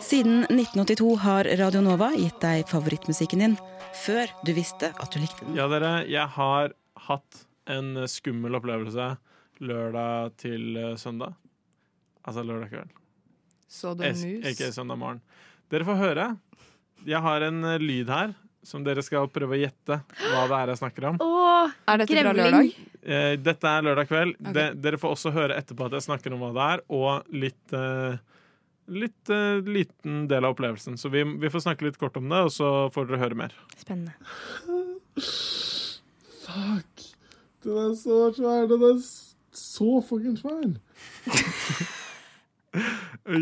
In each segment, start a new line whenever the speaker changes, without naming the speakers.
Siden 1982 har Radio Nova gitt deg favorittmusikken din før du visste at du likte den.
Ja, dere, jeg har hatt en skummel opplevelse lørdag til eh, søndag. Altså lørdag kveld.
Så du en
Es- Ikke
mus?
søndag morgen. Dere får høre. Jeg har en eh, lyd her som dere skal prøve å gjette hva det er jeg snakker om.
Åh,
Er dette fra
Gremling.
lørdag?
Eh, dette er lørdag kveld.
Ok.
De, dere får også høre etterpå at jeg snakker om hva det er, og litt eh, Litt eh, liten del av opplevelsen. Så vi, vi får snakke litt kort om det, og så får dere høre mer.
spennende.
Fuck! Den er så svær! Den er s- så fucking svær!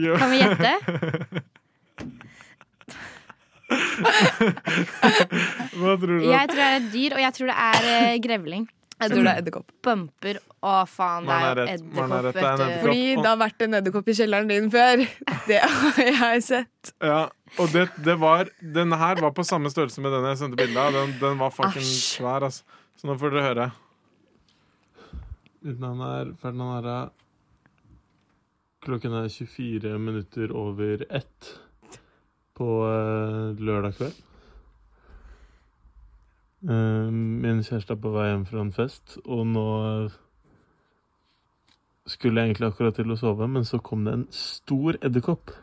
Jo,
Kan vi gjette?
Hva tror du?
Jeg tror det er et dyr, og jeg tror det er eh, grevling.
Jeg tror det er edderkopp.
Bumper. Å, faen, det
Maren er
er
rett. Maren er
edderkopp,
rett, det er en
vet du.
edderkopp.
Fordi det har vært en edderkopp i kjelleren din før. Det har jeg sett.
Ja, og det, det var Denne her var på samme størrelse med den jeg sendte bilde av. Den, den var fucking
Æsj.
svær, altså. Så nå får dere høre.
Uten han er Ferdinand er her. Klokken er 24 minutter over ett på eh, lørdag kveld. Eh, min kjæreste er på vei hjem fra en fest, og nå eh, skulle jeg egentlig akkurat til å sove, men så kom det en stor edderkopp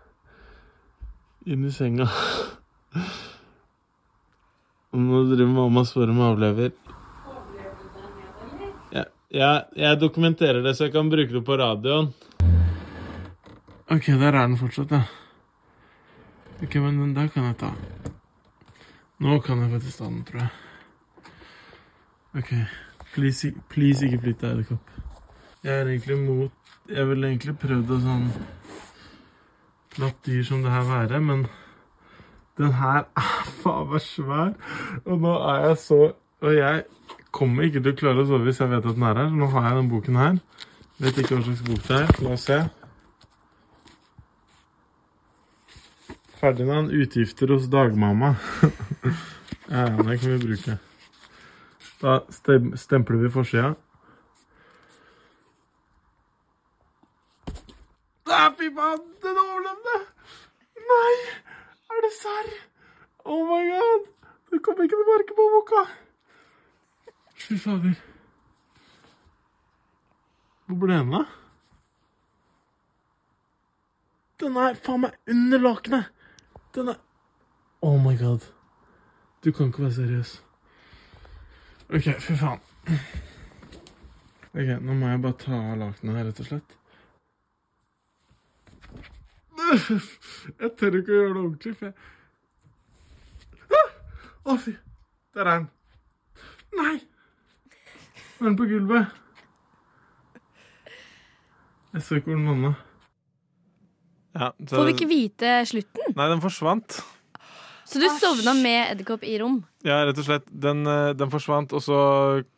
inn i senga. Og nå driver mamma og spør om jeg overlever. Jeg, jeg dokumenterer det, så jeg kan bruke det på radioen. OK, der er den fortsatt, ja. OK, men den der kan jeg ta. Nå kan jeg faktisk ta den, tror jeg. OK. Please, ik- please ikke flytt deg, edderkopp. Jeg er egentlig mot Jeg ville egentlig prøvd å sånn flatt dyr som det her være, men den her er faen meg svær, og nå er jeg så Og jeg kommer ikke til å klare å sove hvis jeg vet at den er her. Nå har jeg den boken her. Vet ikke hva slags bok det er. La oss se. Ferdinand, utgifter hos dagmamma. ja, ja, det kan vi bruke. Da stem stempler vi forsida. Ah, fy faen, den overlevde! Nei! Er det serr? Oh my god! Det kommer ikke til å merke på boka. Fy fader. Hvor ble den av? Den er faen meg under lakenet! Den er Oh my god. Du kan ikke være seriøs. OK, fy faen. OK, nå må jeg bare ta av lakenet her, rett og slett. Jeg tør ikke å gjøre det ordentlig, for jeg Ah! Å, fy. Der er den. Nei! Nå er den på gulvet. Jeg så ikke hvor den landa.
Ja, så-
Får vi ikke vite slutten?
Nei, den forsvant.
Så du sovna med edderkopp i rom?
Ja, rett og slett. Den, eh, den forsvant, og så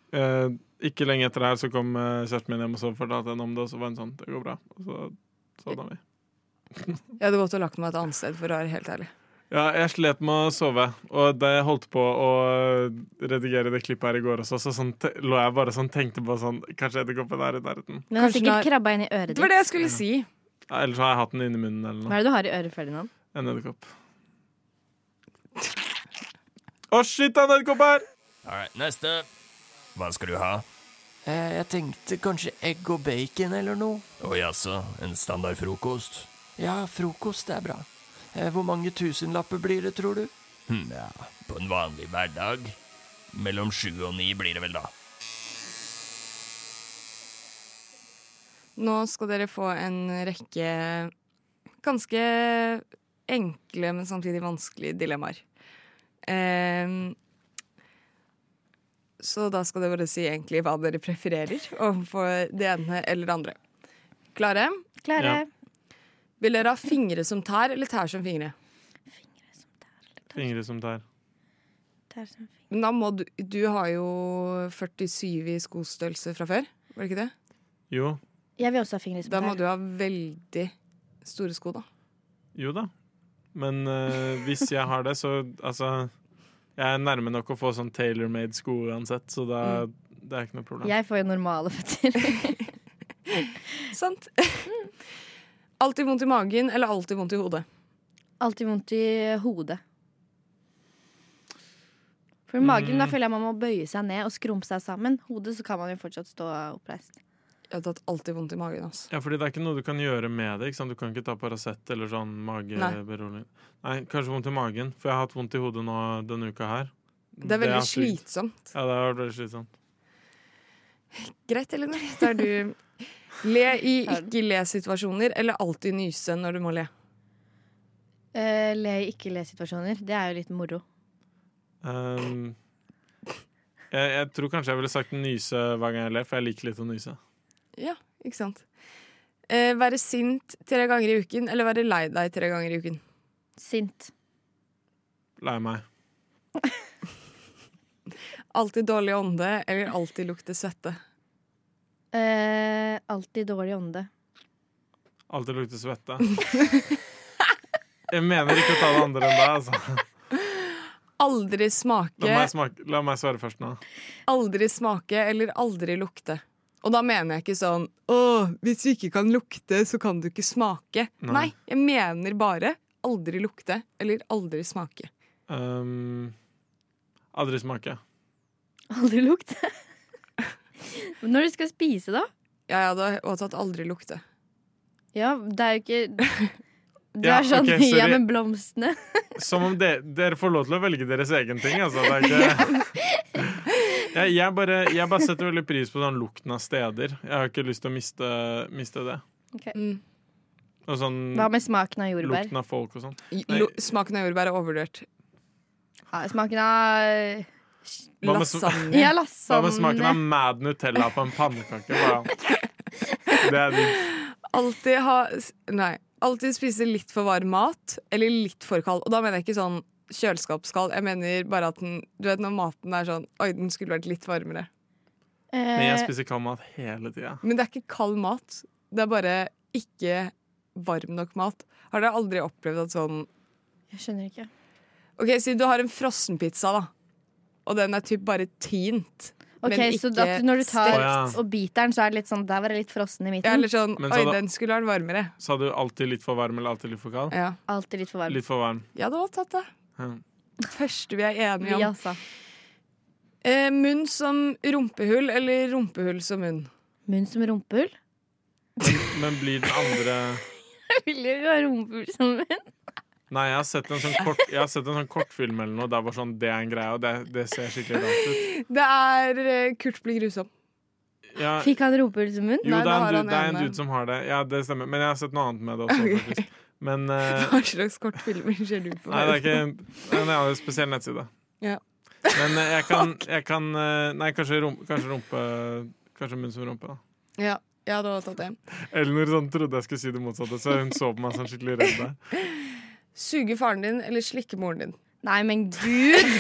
eh, Ikke lenge etter det her så kom eh, kjæresten min hjem, og så fortalte jeg henne om det, og så var hun sånn Det går bra. Og så sovna vi.
Jeg hadde gått og lagt meg et annet sted, for å være helt ærlig.
Ja, jeg slet med å sove, og da jeg holdt på å eh, redigere det klippet her i går også, så sånn, te- lå jeg bare sånn tenkte på sånn Kanskje edderkoppen er i nærheten.
Den har
Kanskje
sikkert
den
krabba inn i
Det
øret
var
ditt.
det jeg skulle si.
Ja, Ellers har jeg hatt den inni munnen eller
Hva
noe.
er det du har i øret, Ferdinand?
En edderkopp. Å, shit, det er en edderkopp her!
Alright, neste. Hva skal du ha?
Eh, Jeg tenkte kanskje egg og bacon eller noe.
Å jaså, en standard frokost?
Ja, frokost er bra. Eh, Hvor mange tusenlapper blir det, tror du?
Hm, ja, på en vanlig hverdag? Mellom sju og ni blir det vel, da.
Nå skal dere få en rekke ganske enkle, men samtidig vanskelige dilemmaer. Ehm, så da skal dere bare si egentlig hva dere prefererer overfor det ene eller det andre. Klare?
Klare?
Ja.
Vil dere ha fingre som tær eller tær som fingre?
Fingre som tær.
sånn-
Men da må du, du har jo 47 i skostørrelse fra før, var det ikke det?
Jo.
Jeg vil også ha fingre som
Da må
tær.
du ha veldig store sko, da.
Jo da. Men eh, hvis jeg har det, så Altså, Jeg er nærme nok å få sånn tailor-made sko uansett, så da,
Mm.
det er ikke noe problem.
Jeg får jo normale føtter.
Sant? Alltid vondt i magen eller alltid vondt i hodet?
Alltid vondt i hodet. For i magen da
Mm.
føler jeg man må bøye seg ned og skrumpe seg sammen. Hodet så kan man jo fortsatt stå oppreist.
Jeg har tatt alltid vondt i magen. altså. ass.
Ja, fordi det er ikke noe du kan gjøre med det. ikke sant? Du kan ikke ta Paracet eller sånn mageberoligende. Nei. kanskje vondt i magen, for jeg har hatt vondt i hodet nå denne uka her.
Det er veldig
sykt.
slitsomt.
Ja, det har vært veldig slitsomt.
Greit, Eline. Da er du Le i ikke-le-situasjoner eller alltid nyse når du må le.
Eh, le i ikke-le-situasjoner. Det er jo litt moro.
Ehm, jeg, jeg tror kanskje jeg ville sagt nyse hver gang jeg ler, for jeg liker litt å nyse.
Ja, ikke sant? Eh, være sint tre ganger i uken eller være lei deg tre ganger i uken?
Sint.
Lei meg.
Alltid dårlig ånde eller alltid lukte svette?
Eh, alltid dårlig ånde.
Alltid lukter svette. Jeg mener ikke å ta det andre enn deg, altså. La
Aldri
meg,
smake,
smake, la meg svare først nå.
aldri smake eller aldri lukte. Og da mener jeg ikke sånn Åh, hvis du ikke kan lukte, så kan du ikke smake.
Nei.
Nei, jeg mener bare aldri lukte eller aldri smake.
Ehm, aldri smake.
Aldri lukte. Men Når du skal spise, da?
Ja, jeg hadde også tatt aldri lukte.
Ja, det er jo ikke Det
Ja,
er sånn
ok, sorry.
Ja, men blomstene.
Som om de, dere får lov til å velge deres egen ting, altså. Det er ikke jeg, jeg, bare, jeg bare setter veldig pris på sånn lukten av steder. Jeg har ikke lyst til å miste, miste det.
Mm.
Og sånn
Hva med smaken av jordbær?
lukten av folk og sånn.
I-
Nei.
lu- Smaken av jordbær er overvurdert.
Ja, smaken av
Hva med sm-
Lasagne.
Ja,
Hva med smaken av
lasagne.
mad Nutella på en pannekake? Bare. Det er digg.
Alltid ha s- Nei. Alltid spise litt for varm mat, eller litt for kald. Og da mener jeg ikke sånn kjøleskapskald. Jeg mener bare at den Du vet når maten er sånn Oi, den skulle vært litt varmere.
Men jeg
Eh,
spiser kald mat hele tida.
Men det er ikke kald mat. Det er bare ikke varm nok mat. Har dere aldri opplevd at sånn
Jeg skjønner ikke.
OK, si du har en frossenpizza, da. Og den er typ bare tint.
Ok,
Men
Så
ikke
at når du tar
stekt.
og biter den, så er det litt sånn Der var det litt frossen i
Ja,
midten.
eller sånn
Men så
Oi,
da-
den skulle vært varmere.
Sa du alltid litt for varm eller alltid litt for kald?
Ja.
Alltid litt for varm.
Litt for varm.
Jeg hadde også tatt det.
Ja.
Første vi er enige om.
Vi, altså.
Eh, munn som rumpehull, eller rumpehull som munn?
Munn som rumpehull.
Men blir den andre
Jeg vil jo ikke ha rumpehull som munn.
Nei, jeg har sett en sånn, kort, jeg har sett en sånn kortfilm eller noe. Det er bare sånn, det er en greie, og det, det ser skikkelig rart ut.
Det er eh, Kurt blir grusom.
Ja,
Fikk han rumpehull som munn?
jo,
Nei,
det
det
er,
har
en dude,
han
det er en
ene.
dude som har det. Ja, det stemmer. Men jeg har sett noe annet med det også.
Ok.
faktisk. Men eh,
Hva slags kortfilmer ser du på?
Nei, det er ikke det er en annen spesiell nettside.
Ja.
Men eh, jeg kan, jeg kan eh, Nei, kanskje, rum, kanskje rumpe Kanskje munn som rumpe. da
Ja, jeg hadde også tatt det.
Elinor sånn, trodde jeg skulle si det motsatte, så hun så på meg sånn skikkelig redd. der.
Suge faren din eller slikke moren din?
Nei, men gud!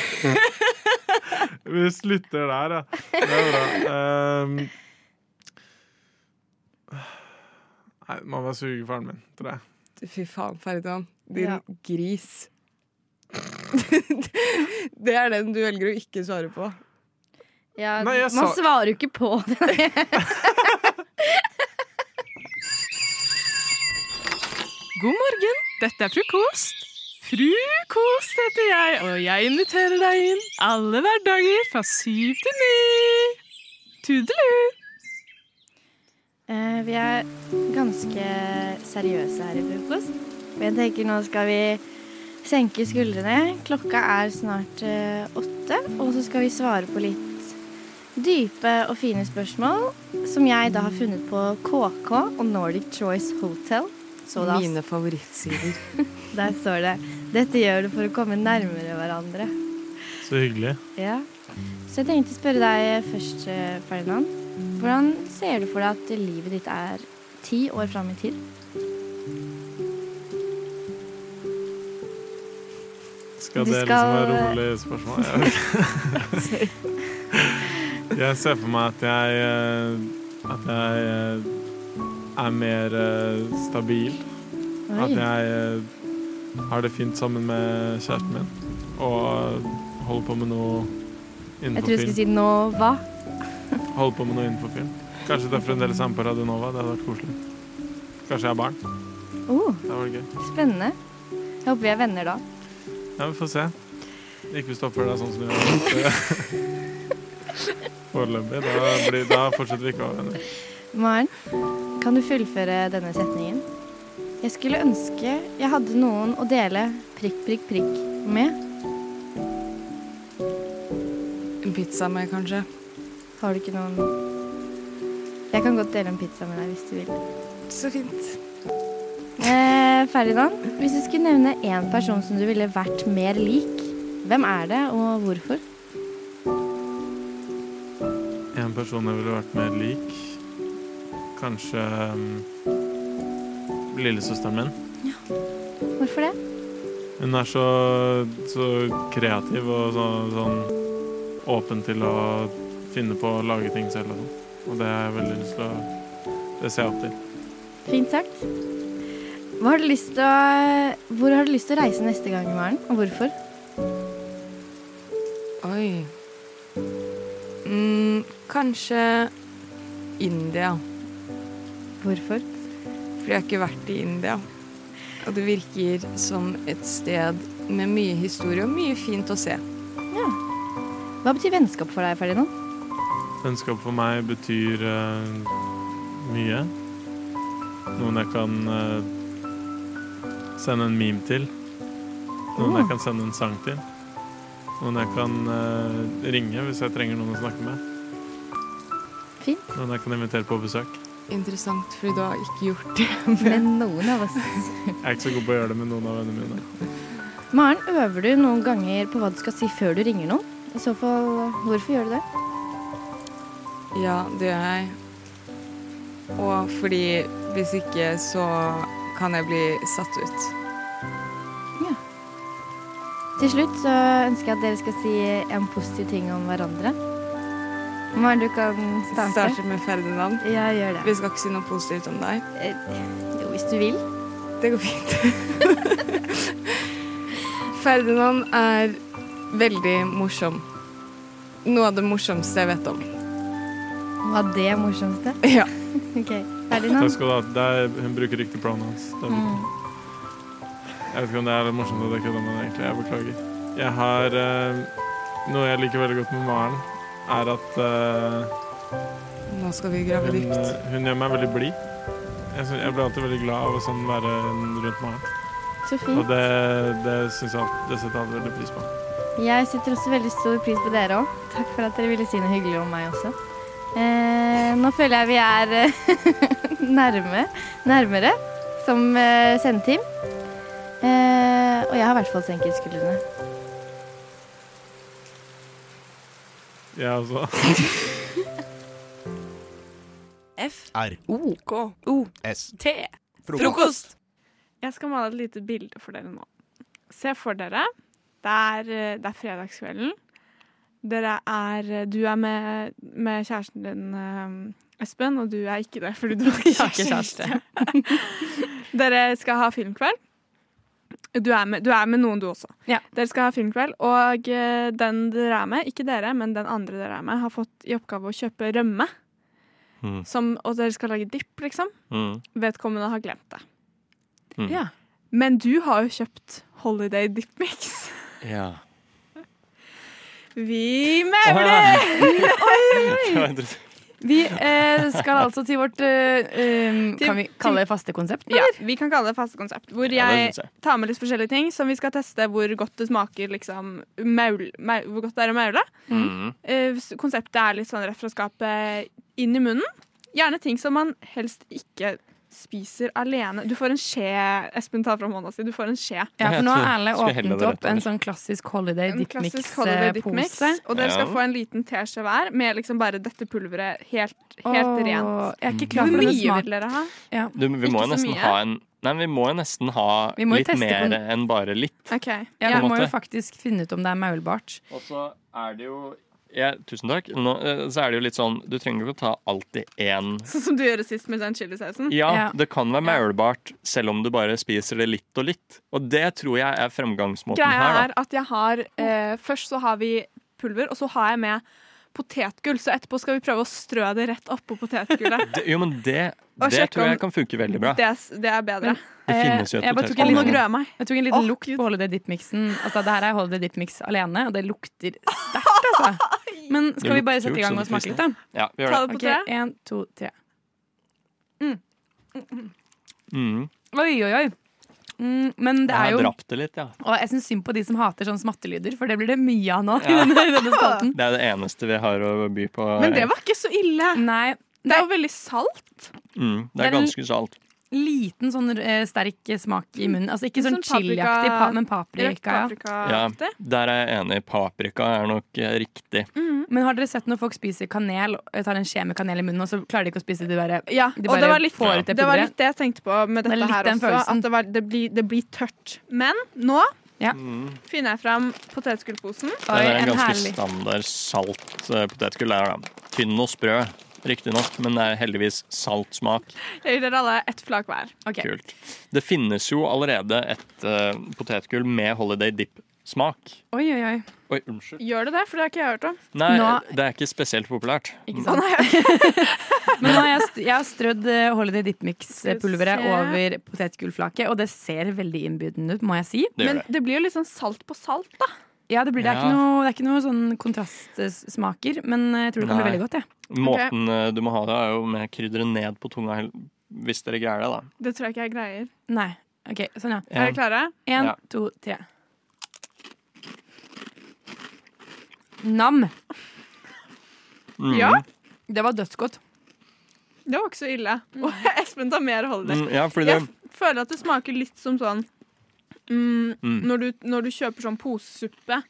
Vi slutter der, ja. Det er bra. Ehm, nei, det må være sugefaren min, tror jeg.
Fy faen, Ferdinand. Din
Ja.
gris. det er den du velger å ikke svare på.
Ja,
Nei, jeg
man
sa-
svarer jo ikke på det.
God morgen, dette er frokost. Frukost heter jeg, og jeg inviterer deg inn alle hverdager fra syv til ni. Tudelu!
Eh, vi er ganske seriøse her i frokost. Men Jeg tenker nå skal vi senke skuldrene. Klokka er snart eh, åtte, og så skal vi svare på litt dype og fine spørsmål som jeg da har funnet på KK og Nordic Choice Hotel. Så da,
Mine favorittsider.
der står det 'Dette gjør du for å komme nærmere hverandre'.
Så hyggelig.
Ja. Så jeg tenkte å spørre deg først, eh, Ferdinand. Hvordan ser du for deg at livet ditt er ti år fram i tid?
Skal
Du
dere
skal-
som har rolig spørsmål? Jeg, vet ikke. jeg ser for meg at jeg eh, At jeg eh, er mer eh, stabil. At jeg eh, har det fint sammen med kjæresten min. Og Holder på med noe
Jeg
innenfor
tror jeg
film.
skulle si nå hva.
Holder på med noe innenfor film. Kanskje det er fremdeles er med på Radio Nova. Det hadde vært koselig. Kanskje jeg er barn.
Oh,
Det hadde vært gøy.
spennende. Jeg håper vi er venner da.
Ja, vi får se. Ikke hvis du oppfører deg sånn som du gjør foreløpig. Da, blir, da fortsetter vi ikke å være venner.
Maren, kan du fullføre denne setningen? Jeg skulle ønske jeg hadde noen å dele prikk, prikk, prikk med.
En pizza med, kanskje.
Har du ikke noen Jeg kan godt dele en pizza med deg hvis du vil.
Så fint.
Eh, Ferdinand, hvis du skulle nevne én person som du ville vært mer lik, hvem er det, og hvorfor?
En person jeg ville vært mer lik. Kanskje um, lillesøsteren min.
Hvorfor det?
Hun er så, så kreativ og så, sånn åpen til å finne på å lage ting selv og sånn. Og det har jeg veldig lyst til å Det ser jeg opp til.
Fint sagt. Hva har du lyst til å, hvor har du lyst til å reise neste gang, Maren, og hvorfor?
Oi. Mm, kanskje India.
Hvorfor?
For jeg har ikke vært i India. Og det virker som et sted med mye historie og mye fint å se.
Hva betyr vennskap for deg, Ferdinand?
Vennskap for meg betyr eh, mye. Noen jeg kan eh, sende en meme til. Noen jeg kan sende en sang til. Noen jeg kan eh, ringe hvis jeg trenger noen å snakke med.
Fint.
Noen jeg kan invitere på besøk.
Interessant, fordi du har ikke gjort det.
Men noen av oss.
Jeg er ikke så god på å gjøre det med noen av vennene mine.
Maren, øver du noen ganger på hva du skal si før du ringer noen? I så fall, hvorfor gjør du det?
Ja, det gjør jeg. Og fordi hvis ikke, så kan jeg bli satt ut.
Til slutt så ønsker jeg at dere skal si en positiv ting om hverandre. Maren, du kan starte.
Starter med Ferdinand.
Ja, gjør det.
Vi skal ikke si noe positivt om deg.
Eh, Jo, hvis du vil.
Det går fint. Ferdinand er veldig morsom. Noe av det morsomste jeg vet om.
Hva det er morsomste?
Ja.
Ok,
Takk
Ferdinand.
skal du ha. Det er, hun bruker riktig pronouns. Det er- Jeg vet ikke om det er litt morsomt at jeg kødder med det, egentlig. Jeg beklager. Jeg har eh, Noe jeg liker veldig godt med Maren, er at eh,
Nå skal vi grave
Hun,
dypt.
eh, hun gjør meg veldig blid. Jeg, syns- jeg blir alltid veldig glad av å sånn være rundt meg.
Mm.
Så
Og
fint.
det, det syns jeg alt- det setter jeg veldig pris på.
Jeg setter også veldig stor pris på dere òg. Takk for at dere ville si noe hyggelig om meg også. Eh, nå føler jeg vi er eh, nærme, nærmere som eh, sendeteam. Eh, og jeg har i hvert fall senket skuldrene.
Jeg også.
F
R.
O K O
S.
T. Frokost!
Jeg skal male et lite bilde for dere nå. Se for dere. Det er, eh, det er fredagskvelden. Dere er eh, Du er med, med kjæresten din, eh, Espen, og du er ikke det, fordi du har
Jeg har
ikke
ikke
kjæreste. dere skal ha filmkveld. Du er, med, du er med noen, du også.
Ja.
Dere skal ha filmkveld, og eh, den dere er med, ikke dere, men den andre dere er med, har fått i oppgave å kjøpe rømme.
Mm.
Som, og dere skal lage dipp, liksom
Mm.
vedkommende har glemt det.
Mm.
Ja. Men du har jo kjøpt Holiday Dip Mix.
Ja.
Vi mauler!
Det var interessant.
Vi eh, skal altså til vårt eh, eh,
Til-
Kan vi kalle det faste konsept?
Ja, vi kan kalle det faste konsept. Hvor
Ja, det
jeg
synes jeg.
tar med litt forskjellige ting som vi skal teste hvor godt det smaker liksom, maul, mau- hvor godt det er å maule.
Mm.
Eh, s- konseptet er litt sånn rett fra skapet inn i munnen. Gjerne ting som man helst ikke spiser alene. Du får en skje Espen tar fram hånda si. Du får en skje.
Ja, for nå har Erle
Skulle helle
åpnet
det
opp
rett
en
over.
sånn klassisk Holiday
En
Dip eh,
klassisk Holiday Dip Mix.
Mix-pose.
Og dere skal
Ja.
få en liten teskje hver med liksom bare dette pulveret helt, helt
Åh,
rent.
Jeg er ikke klar
Hvor
for
mye
den smaken.
vil dere ha?
Ja.
Du, vi må
Ikke
jo
så
nesten
mye.
ha en Nei, men vi må jo nesten ha
Vi må jo
litt
teste
mer
på den.
enn bare litt.
Ok.
Ja,
Ja.
vi må jo
måte.
faktisk finne ut om det er maulbart.
Og så er det jo Ja, tusen takk. Nå, eh, så er det jo litt sånn, du trenger ikke å ta alltid én
Sånn som du gjorde sist med den chilisausen.
ja, det kan være maulbart selv om du bare spiser det litt og litt. Og det tror jeg er fremgangsmåten
Greia
her.
er at jeg har eh, Først så har vi pulver, og så har jeg med potetgull. Så etterpå skal vi prøve å strø det rett oppå potetgullet.
Da. Det, jo, men det,
Og
det
sjekk
tror
om-
jeg kan funke veldig bra.
Det, er s- det er bedre.
Det finnes jo et
jeg bare tok
potetgull.
en
Å, nå
liten,
gruer jeg
jeg tok en liten lukt på Holiday Dip-miksen. Altså, det her er Holiday Dip-mix alene, og det lukter sterkt, altså. Men
Det
skal vi bare
lukter
sette i
gjort, så
gang med å
det
smake
frister.
litt, da?
Ja, vi gjør Ta det. det på
Ok, En, to, tre.
Mm.
Oi, oi, oi. Mm, men det
Jeg
er
har
jo
drapt det litt, ja.
Og jeg syns synd på de som hater sånne smattelyder, for det blir det mye av nå. i
Ja.
denne, i denne spalten.
Det er det eneste vi har å by på.
var ikke så ille.
Nei.
Det er jo veldig salt.
mm, det
det
er
er-
ganske salt.
Liten sånn eh, sterk smak i munnen. Altså ikke
Litt
sånn,
sånn
chiliaktig,
paprika-
pa men
rødt
paprika.
Ja, der er jeg enig. Paprika er nok eh, riktig.
Men har dere sett når folk spiser kanel, og tar en skje med kanel i munnen, og så klarer de ikke å spise det? De bare,
Ja,
de
og
bare
det var, litt,
får ut det
det var
pulveret.
litt det jeg tenkte på med
Det er
dette
litt
her
den
også.
følelsen.
At det, var, det, blir, det blir tørt. Men nå
Ja.
finner jeg fram potetgullposen.
Nei, det er en ganske standard salt eh, potetgull. Der, da. Tynn og sprø, riktignok, men det er heldigvis salt smak.
Jeg gir dere alle ett flak hver.
Kult. Det finnes jo allerede et eh, potetgull med holiday dip-smak.
Oi, oi, oi.
Oi, unnskyld.
Gjør det det? For det har ikke jeg hørt om.
Nei,
Nå-
det er ikke spesielt populært.
Ikke sant? Men nå har jeg, st jeg har strødd eh, Holiday Dip-mix-pulveret
Skal vi se.
over potetgullflaket, og det ser veldig innbydende ut, må jeg si.
Det gjør Men det.
blir jo litt sånn salt på salt, da.
Ja, det, blir, det, er,
Ja.
ikke noe, det er ikke noe sånn kontrastsmaker, men eh, jeg tror det kan bli
Nei.
veldig godt, jeg.
Måten eh, du må ha det, er jo med krydderet ned på tunga, hel- hvis dere greier det, da.
Det tror jeg ikke jeg greier.
Nei. OK, sånn, ja.
Ja.
Er dere klare?
En,
Ja.
to, tre. Nam.
Mm.
Ja.
Det var dødsgodt.
Det var ikke så ille.
Mm.
Og Espen tar mer holder.
Mm, ja, fordi
jeg
det-
f- føler at det smaker litt som sånn mm,
Mm.
Når, du, når du kjøper sånn posesuppe.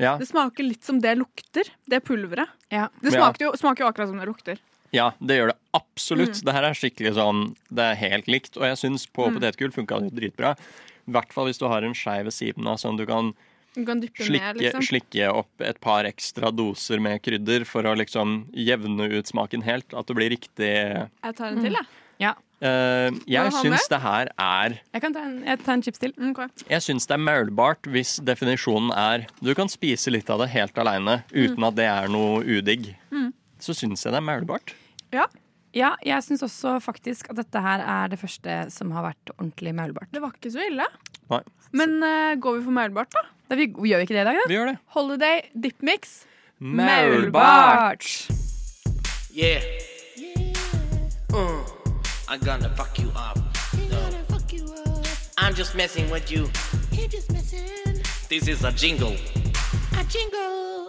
Ja.
Det smaker litt som det lukter. Det pulveret. Det
Ja.
smaker jo, smaker jo akkurat som det lukter.
Ja, det gjør det absolutt.
Mm.
Det her er skikkelig sånn Det er helt likt. Og jeg syns på
Mm.
potetgull funka det dritbra. I hvert fall hvis du har en skei ved siden av, sånn du kan
Du kan dyppe
slikke,
ned, liksom.
slikke opp et par ekstra doser med krydder for å liksom jevne ut smaken helt. At det blir riktig
Jeg tar en til, jeg.
Ja.
Eh,
Hva
Jeg
har du
syns
med?
det her er
Jeg kan ta en, jeg tar en chips til.
Mm,
Jeg syns det er maulbart hvis definisjonen er du kan spise litt av det helt aleine uten
Mm.
at det er noe udigg.
Mm.
Så syns jeg det er maulbart.
Ja. ja jeg syns også faktisk at dette her er det første som har vært ordentlig maulbart.
Det var ikke så ille.
Nei.
Men eh, går vi for maulbart, da?
vi, gjør vi ikke det i dag, da?
Vi gjør det.
Holiday dipmix.
Yeah. Mm. I'm gonna fuck you up. No. I'm just messing with you. This is a jingle.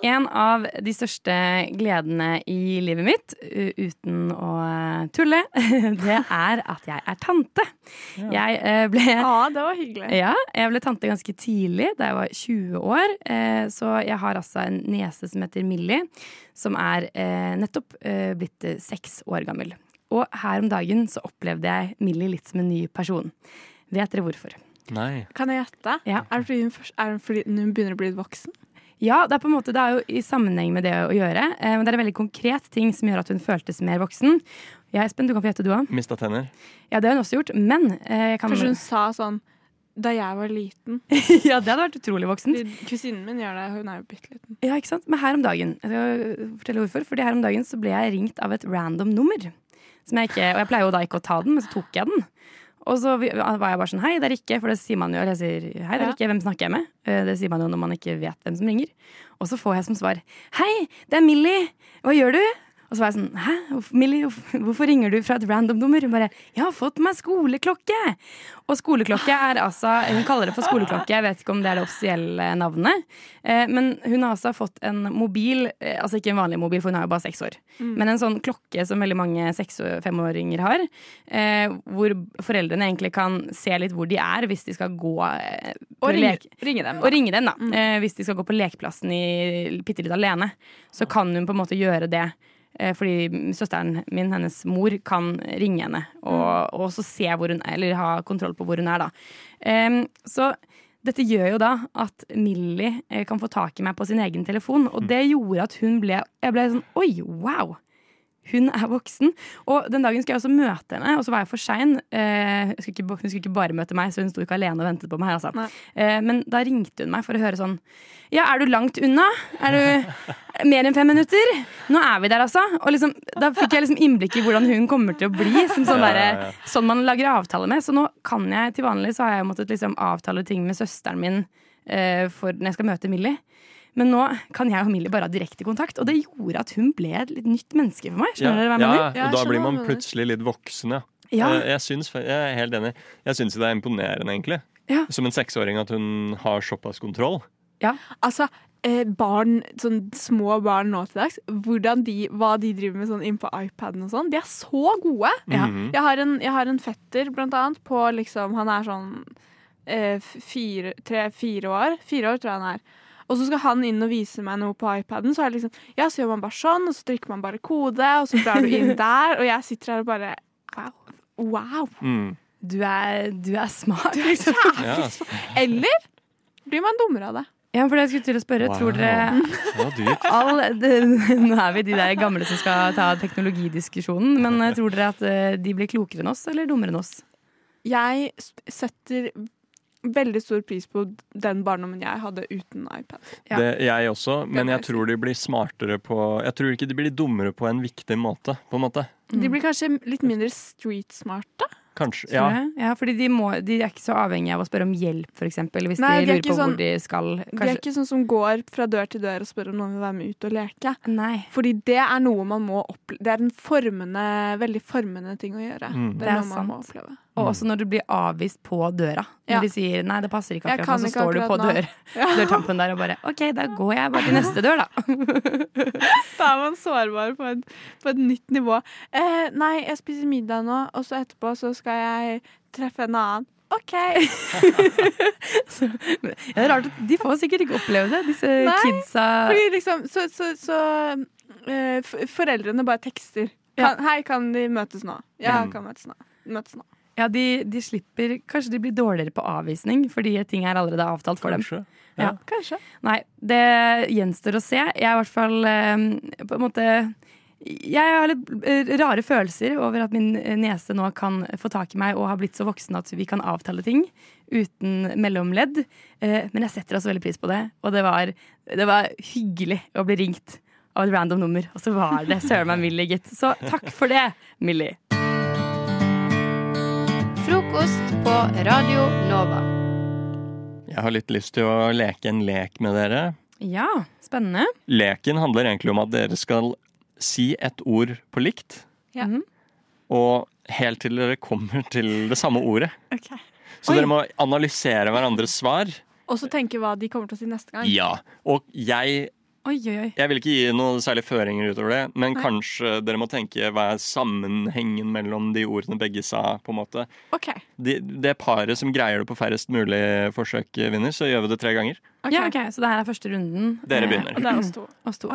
En av de største gledene i livet mitt, u- uten å eh, tulle, det er at jeg er tante. Jeg eh, ble
Ja, det var hyggelig.
Ja, jeg ble tante ganske tidlig, da jeg var 20 år. eh, Så jeg har altså en niese som heter Millie, som er eh, nettopp eh, blitt eh, seks år gammel. Og her om dagen så opplevde jeg Millie litt som en ny person. Vet dere hvorfor?
Nei.
Kan jeg gjette? Er det fordi hun, først, er det fordi hun begynner å bli voksen?
Ja, det er på en måte, det er jo i sammenheng med det å gjøre. eh, Men det er en veldig konkret ting som gjør at hun føltes mer voksen. Ja, Espen, du kan få gjette du òg.
Mista tenner.
Ja, det har hun også gjort, men eh, jeg kan
Kanskje hun sa sånn da jeg var liten.
Ja, det hadde vært utrolig voksent.
Kusinen min gjør det. Hun er jo bitte liten.
Ja, ikke sant? Men her om dagen Jeg skal fortelle hvorfor Fordi her om dagen så ble jeg ringt av et random nummer Som jeg ikke Og jeg pleier jo da ikke å ta den Men så tok jeg den Og så vi- var jeg bare sånn Hei, det er ikke For det sier man jo Eller jeg sier Hei, det er ikke Hvem snakker jeg med? Eh, Det sier man jo når man ikke vet hvem som ringer Og så får jeg som svar Hei, det er Millie Hva gjør du? Og så var jeg sånn, hæ, Hvorf- Millie, hvorf- hvorfor ringer du fra et random nummer? Hun bare, jeg har fått meg skoleklokke! Og skoleklokke er altså, hun kaller det for skoleklokke, jeg vet ikke om det er det offisielle navnet. Eh, men hun har altså fått en mobil, eh, altså ikke en vanlig mobil, for hun er jo bare seks år.
Mm.
Men en sånn klokke som veldig mange seks- og femåringer har, eh, hvor foreldrene egentlig kan se litt hvor de er hvis de skal gå eh, på
Og ringe,
leke-
ringe dem. Mm.
og ringe dem, da. Eh, hvis de skal gå på lekeplassen i bitte litt alene, så kan hun på en måte gjøre det. Eh, fordi søsteren min, hennes mor, kan ringe henne og, og så se hvor hun er, eller ha kontroll på hvor hun er, da. Em, så Dette gjør jo da at Millie eh, kan få tak i meg på sin egen telefon, og det gjorde at hun ble Jeg ble sånn Oi, wow! Hun er voksen. Og den dagen skulle jeg også møte henne, og så var jeg for sein. Eh, hun skulle ikke- hun skulle ikke bare møte meg, så hun sto ikke alene og ventet på meg. Altså. Eh, men da ringte hun meg for å høre sånn Ja, er du langt unna? Er du mer enn fem minutter? Nå er vi der, altså. Og liksom, da fikk jeg liksom innblikk i hvordan hun kommer til å bli. Som sånn,
Ja, ja,
derre-
ja.
sånn man lager avtale med. Så nå kan jeg til vanlig så har jeg måttet liksom avtale ting med søsteren min eh, for når jeg skal møte Millie. Men nå kan jeg og Millie bare ha direkte kontakt, og det gjorde at hun ble et litt nytt menneske for meg. Skjønner dere hva jeg
ja,
mener?
og da blir man plutselig litt voksen, ja.
Ja.
Eh, Jeg, syns, jeg er helt enig. Jeg syns det er imponerende, egentlig.
Ja.
Som en seksåring at hun har såpass kontroll.
Altså, eh, barn, sånn små barn nå til dags, hvordan de, hva de driver med sånn innpå iPaden og sånn, de er så gode.
Mhm.
jeg, har en, jeg har en fetter, blant annet, på liksom Han er sånn eh, fire, tre, fire år. Fire år, tror jeg han er. Og så skal han inn og vise meg noe på iPaden. Så er det liksom, ja, så gjør man bare sånn, og så trykker man bare kode, og så drar du inn der. Og jeg sitter her og bare Wow. wow.
Du, er, du er smart.
Mm.
Ah,
Ja.
Eller blir man dummere av det?
Ja, for det jeg skulle til å spørre, tror
Wow.
dere
Det var dyrt.
all, det, Nå er vi de der gamle som skal ta teknologidiskusjonen, men eh, tror dere at eh, de blir klokere enn oss, eller dummere enn oss?
Jeg s- setter veldig stor pris på den barndommen jeg hadde uten iPad.
Det, jeg også, men jeg tror de blir smartere på Jeg tror ikke de blir dummere på en viktig måte, på en måte.
De blir kanskje litt mindre street smart, da?
Kanskje.
Ja.
Ja.
ja, fordi de, må, de er ikke så avhengige av å spørre om hjelp, f.eks. Hvis
Nei, de
de
er
lurer
ikke
på
sånn-
hvor de skal.
De er ikke sånn som går fra dør til dør og spør om noen vil være med ut og leke. Fordi det er noe man må oppleve. Det er en formende, veldig formende ting å gjøre.
Mm.
Det er noe man må oppleve.
Og også når du blir avvist på døra. Når
Mm. Ja.
de sier 'nei, det passer ikke
Jeg
akkurat',
kan
nå, så
ikke
står du på
akkurat nå.
dør, dørtampen der og bare 'ok, da går jeg bare til neste dør', da.
Da er man sårbar på et, på et nytt nivå. Eh, nei, jeg spiser middag nå, og så etterpå så skal jeg treffe en annen. OK!
Ja, det er rart, at De får sikkert ikke oppleve det, disse
Nei,
kidsa.
Fordi liksom, så, så, så eh, f- foreldrene bare tekster. Kan, Hei, kan de møtes nå? Ja,
Mm.
kan møtes nå. Møtes nå.
Ja, de, de slipper Kanskje de blir dårligere på avvisning fordi ting er allerede avtalt for
dem.
Ja.
Kanskje.
Nei, det gjenstår å se. Jeg er i hvert fall eh, på en måte jeg har litt eh, rare følelser over at min eh, niese nå kan få tak i meg og har blitt så voksen at vi kan avtale ting uten mellomledd. Eh, Men jeg setter også veldig pris på det, og det var, det var hyggelig å bli ringt av et random nummer. Og så var det søren meg Millie, gitt. Så takk for det, Millie.
Frokost på Radio Nova.
Jeg har litt lyst til å leke en lek med dere.
Ja, spennende.
Leken handler egentlig om at dere skal si et ord på likt,
Ja.
og helt til dere kommer til det samme ordet. Så
Oi.
dere må analysere hverandres svar.
Og så tenke hva de kommer til å si neste gang.
Ja. Og jeg
Oi, oi, oi.
Jeg vil ikke gi noen særlige føringer utover det, men
Nei.
kanskje dere må tenke hva er sammenhengen mellom de ordene begge sa, på en måte.
Ok.
De, det paret som greier det på færrest mulig forsøk, vinner, så gjør vi det tre ganger.
Ja, ok, Så det her er første runden.
Dere
Eh,
begynner.
og det er oss to.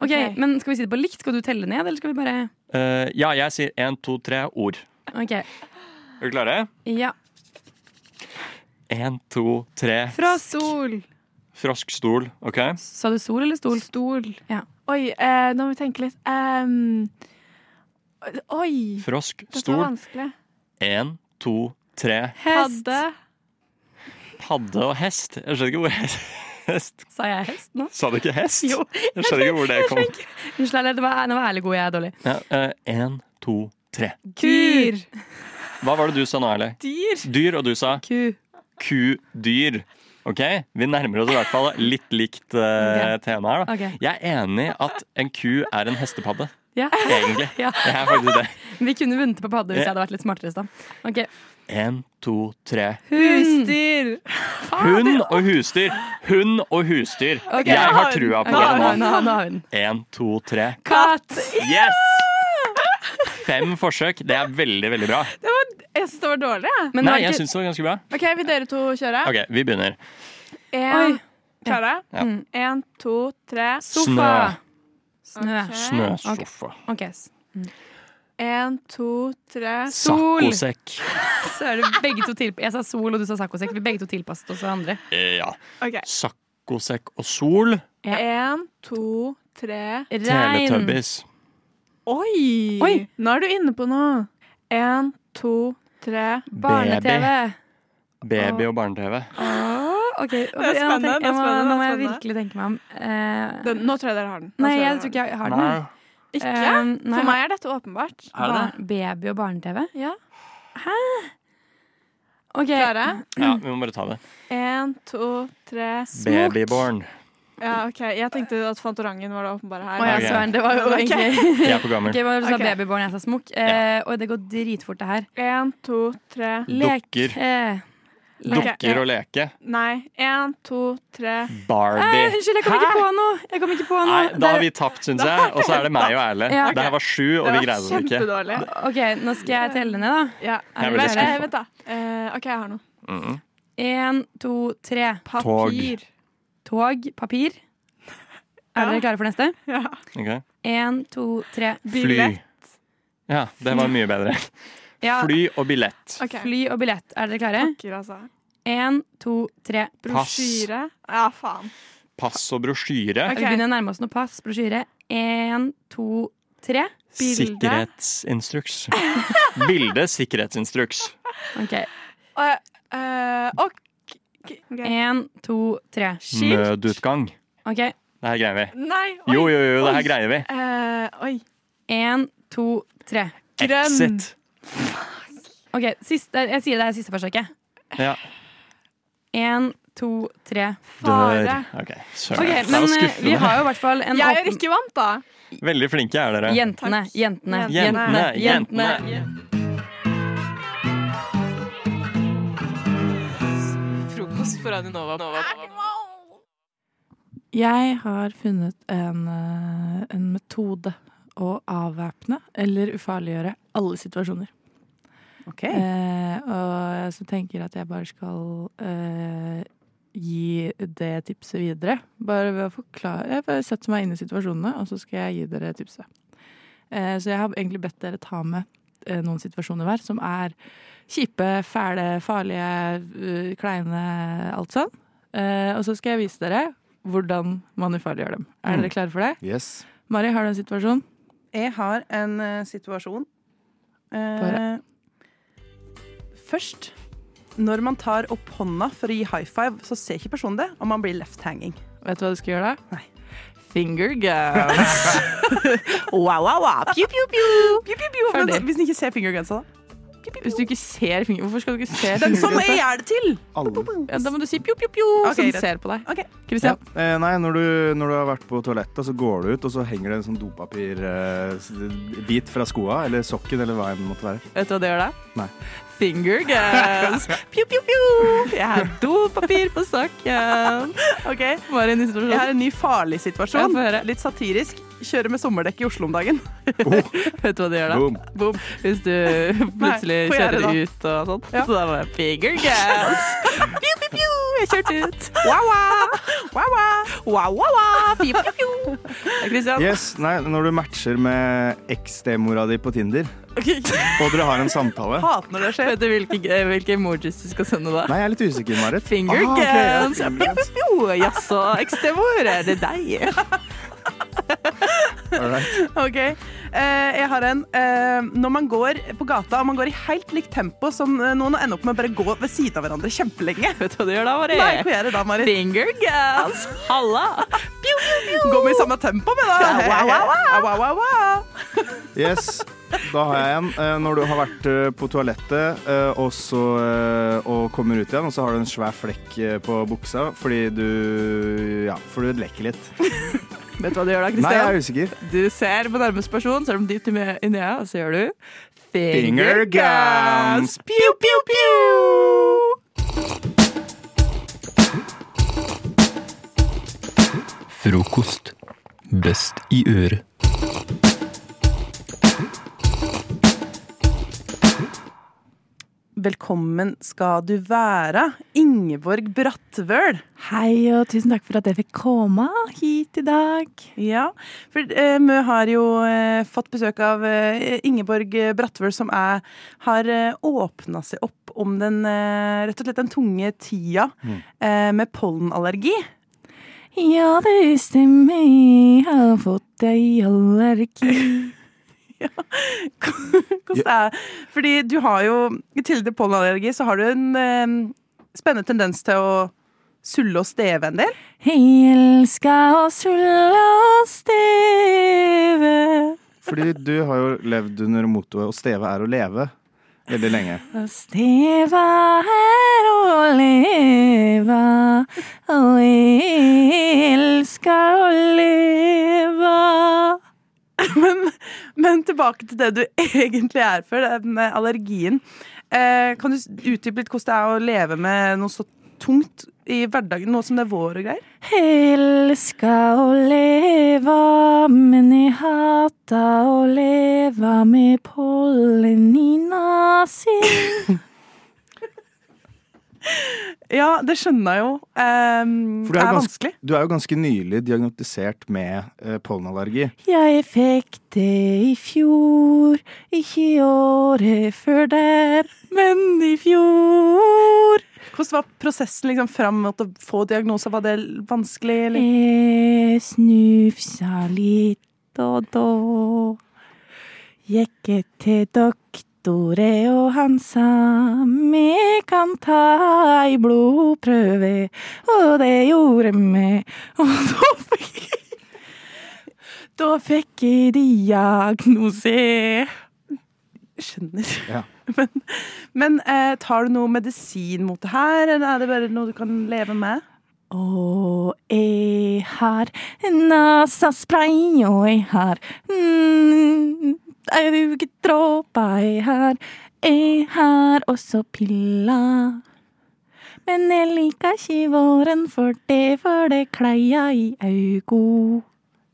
ok, Men skal vi si det på likt? Skal du telle ned, eller skal vi bare
Eh, ja, jeg sier én, to, tre ord.
Ok.
Er dere klare?
Ja.
Én, to, tre.
Frosk. Sol.
Froskstol. OK?
Sa du sol eller stol?
Stol.
Ja.
Oi, eh, nå må vi tenke litt. Em, oi! Dette var
Froskstol.
vanskelig.
Én, to, tre.
Hest. Hadde.
Padde og hest. Jeg skjønner ikke hvor hest
Sa jeg hest nå?
Sa du ikke hest?
Jo.
Jeg skjønner ikke hvor det kom.
Unnskyld, det var, nå var jeg ærlig god, jeg er dårlig.
Ja, eh, en, to, tre.
Dyr.
Hva var det du sa nå, Erle?
Dyr.
Dyr, og du sa?
Ku.
Kudyr. Ok, Vi nærmer oss i hvert fall litt likt eh, tema her. da.
Ok.
Jeg er enig at en ku er en hestepadde.
Ja.
Egentlig.
Ja.
Det er faktisk det.
Vi kunne vunnet på padde hvis jeg
Ja.
hadde vært litt smartere i stad. Ok.
En, to, tre.
Husdyr.
Hund og husdyr. Hund og husdyr.
Ok.
Jeg har trua
Nå
på
har
det nå.
vi den, nå har vi den, nå har vi den.
En, to, tre.
Katt!
Yes! Fem forsøk. Det er veldig, veldig bra.
Det var, jeg syns det var dårlig, jeg.
Nei, jeg syns det var ganske bra.
OK, vil dere to kjøre?
Ok, vi begynner.
En, klare?
Ja.
Mm. En, to, tre.
Sofa.
Snø.
Snøsofa.
Ok. s-
Én, to, tre
Sol!
Saccosekk.
Så er det begge to tilp- Jeg sa sol, og du sa saccosekk. Vi begge to tilpasset oss hverandre.
Eh, Ja.
Ok.
Saccosekk og sol.
Én, to, tre
Teletubbies.
Oi! Nå er du inne på noe. Én, to, tre
Barne-TV. Baby og barne-TV.
Åh, ok.
Det er spennende, det
Jeg
er
må,
spennende,
nå må
det
jeg
er
virkelig tenke meg om. Eh,
Den- nå tror jeg dere har den. Nå tror
Nei,
jeg
jeg
dere
tror ikke jeg har den.
Nei.
Ikke?
Eh, nei.
For meg er dette åpenbart.
Ba- Baby og barne-TV?
Ja.
Hæ? Ok. Klare?
Ja, vi må bare ta det.
Én, to, tre Smok.
Babyborn.
Ja, ok. Jeg tenkte at Fantorangen var det åpenbare her.
Å ja,
Ok.
søren. Det var jo
Ok.
egentlig
Jeg er for gammel.
Ok, hva var det du sa?
Ok.
Babyborn, jeg sa smokk. Eh, Oi, det går dritfort, det her.
Én, to, tre
Lek.
Dukker.
Eh, lek.
Dukker og leke.
Nei. Én, to, tre
Eh,
Barbie.
Unnskyld, jeg kom ikke på noe! Jeg kom ikke på noe.
Nei, da har vi
Det-
tapt, syns jeg. Og så er det meg og Erle.
Ja, ok.
Det her var sju, og vi greide det ikke.
Ok, nå skal jeg telle ned, da.
Ja.
Jeg er veldig
Vent,
skuffet.
vent da. Eh, OK, jeg har noe.
Mm.
Én, to, tre.
Papir.
Tog. Papir. Er dere klare for neste?
Ja.
Ok.
Én, to, tre.
Fly. Ja, det var mye bedre.
Ja.
Fly og billett.
Fly og billett. Er dere klare?
Pakker, altså.
Én, to, tre.
Pass.
Brosjyre. Ja, faen.
Pass og brosjyre.
Vi begynner å nærme oss noe pass. Brosjyre. Én, to, tre.
Sikkerhetsinstruks. Bilde, sikkerhetsinstruks.
Ok.
eh, og
Én, to, tre.
Nødutgang.
Ok.
Det her greier vi.
Nei, Eh,
Jo, jo, jo, det her greier vi.
oi.
Én, to, tre.
Exit.
Ok, siste, jeg sier det er siste forsøket.
Ja.
Én, to, tre.
Dør. Ok, søren.
Ok,
Det er
men eh,
skuffende.
vi har jo i hvert fall en
Jeg og
åpen-
Rikke vant, da.
Veldig flinke er dere.
Jentene, jentene,
Jentene, jentene.
Frokost på Radio Nova. Nova.
Jeg har funnet en, eh, en metode å avvæpne eller ufarliggjøre alle situasjoner. Eh, og så tenker jeg at jeg bare skal eh, gi det tipset videre. Bare ved å forklare Jeg bare setter meg inn i situasjonene, og så skal jeg gi dere tipset. Eh, så jeg har egentlig bedt dere ta med eh, noen situasjoner hver som er kjipe, fæle, farlige, eh, kleine, alt sånn. Eh, og så skal jeg vise dere hvordan man ufarliggjør dem. Er dere klare for det?
Yes.
Mari, har du en situasjon?
Jeg har en eh, situasjon. Eh,
Bare.
først, når man tar opp hånda for å gi high five, så ser ikke personen det, og man blir left hanging.
Vet du hva du skal gjøre da? Finger guns.
wow, wow, wow. Pew, pew, pew. Pew, pew, pew. Men,
Ferdig.
hvis den ikke ser fingergrensa, da?
Hvis du ikke ser finger... Hvorfor skal du ikke se
Den som
fingergrensa?
jeg er det til!
Ja, da må du si pjo, pjo, pjo,
Ok,
som
greit.
ser på deg.
Kristian? Eh, nei, når du, når du har vært på toalettet, så går du ut, og så henger det en sånn dopapirbit eh, bit fra skoa, eller sokken, eller hva enn det måtte være.
Vet du hva det gjør da?
Nei.
Finger guns. Pjo, pjo, pjo. Jeg har dopapir på sokken.
Ok.
Mari, en ny situasjon.
Jeg har en ny farlig
Ja,
situasjon.
få høre.
Litt satirisk. Kjører med sommerdekk i Oslo om dagen.
Oh.
Vet du hva det gjør da?
Boom.
Hvis du plutselig
Nei, på gjerdet
kjører
da.
ut og sånn. Så da var det finger guns. Pju, pju, pju. Jeg kjørte ut. Wow, wow. Wow, wow. Wow, wow, wow. Pju, pju, pju. Ja, Kristian.
Yes, nei, når du matcher med ekstemora di på Tinder, og dere har en samtale
Hat når det skjer. Vet du hvilke, eh, hvilke emojis du skal sende da?
Nei, jeg er litt usikker, Marit.
Finger
Ah, ok, ja,
guns.
finger
Pju, pju, pju. Jaså, ekstemor, er det deg?
All right.
OK. Eh, jeg har en. Eh, når man går på gata og man går i helt likt tempo som eh, noen, og ender opp med å bare gå ved siden av hverandre kjempelenge.
Vet du hva du gjør da, Mari?
Nei, hva gjør jeg da, Mari?
Finger guns. Halla.
Går vi i samme tempo med, da?
Ja, wow, wow, wow.
Ja, wow, wow, wow.
Yes, da har jeg en. Eh, Når du har vært eh, på toalettet eh, og, så, eh, og kommer ut igjen, og så har du en svær flekk eh, på buksa fordi du Ja, fordi du lekker litt.
Vet du hva du gjør da,
Nei, jeg er
Kristian?
usikker.
Du ser på nærmeste person, ser dem dypt inn i inn i øya, og så gjør du
Finger guns.
Pew, pew, pew.
Frokost. Best i øret.
Velkommen skal du være, Ingeborg Brattvøl.
Hei, og tusen takk for at jeg fikk komme hit i dag.
Ja, for eh, vi har jo eh, fått besøk av eh, Ingeborg Brattvøl, som er, har eh, åpna seg opp om den, eh, rett og slett den tunge tida
Mm.
eh, med pollenallergi.
Ja, det stemmer. Jeg har fått ei allergi.
Hvordan er Fordi du har jo, i tillegg til pollenallergi, så har du en eh, spennende tendens til å sulle og steve en del.
Jeg elsker å sulle og steve.
Fordi du har jo levd under mottoet 'å steve er å leve' veldig lenge.
Og steve er å leve, og jeg elsker å leve.
men, men tilbake til det du egentlig er for, den allergien. Eh, kan du s- utdype litt hvordan det er å leve med noe så tungt i hverdagen, nå som det er vår og greier?
Elsker å leve, men jeg hater å leve med pollen i nesen.
Ja, det skjønner jeg jo. Eh,
For
det
jo
er
ganske,
vanskelig.
du er jo ganske nylig diagnostisert med eh, pollenallergi.
Jeg fikk det i fjor, ikke i året før der, men i fjor.
Hvordan var prosessen liksom, fram mot å få diagnose? Var det l- vanskelig? Eller?
Jeg snufsa litt, og da gikk jeg til doktore, og han sa vi kan ta ei blodprøve, og det gjorde vi. Og da fikk Da fikk jeg diagnose.
Skjønner.
Ja.
Men eh, tar du noe medisin mot det her, eller er det bare noe du kan leve med?
Og jeg har nasaspray, og jeg har mm, øyedråper, jeg har Jeg har også piller. Men jeg liker ikke våren for det, for det kleia i augo.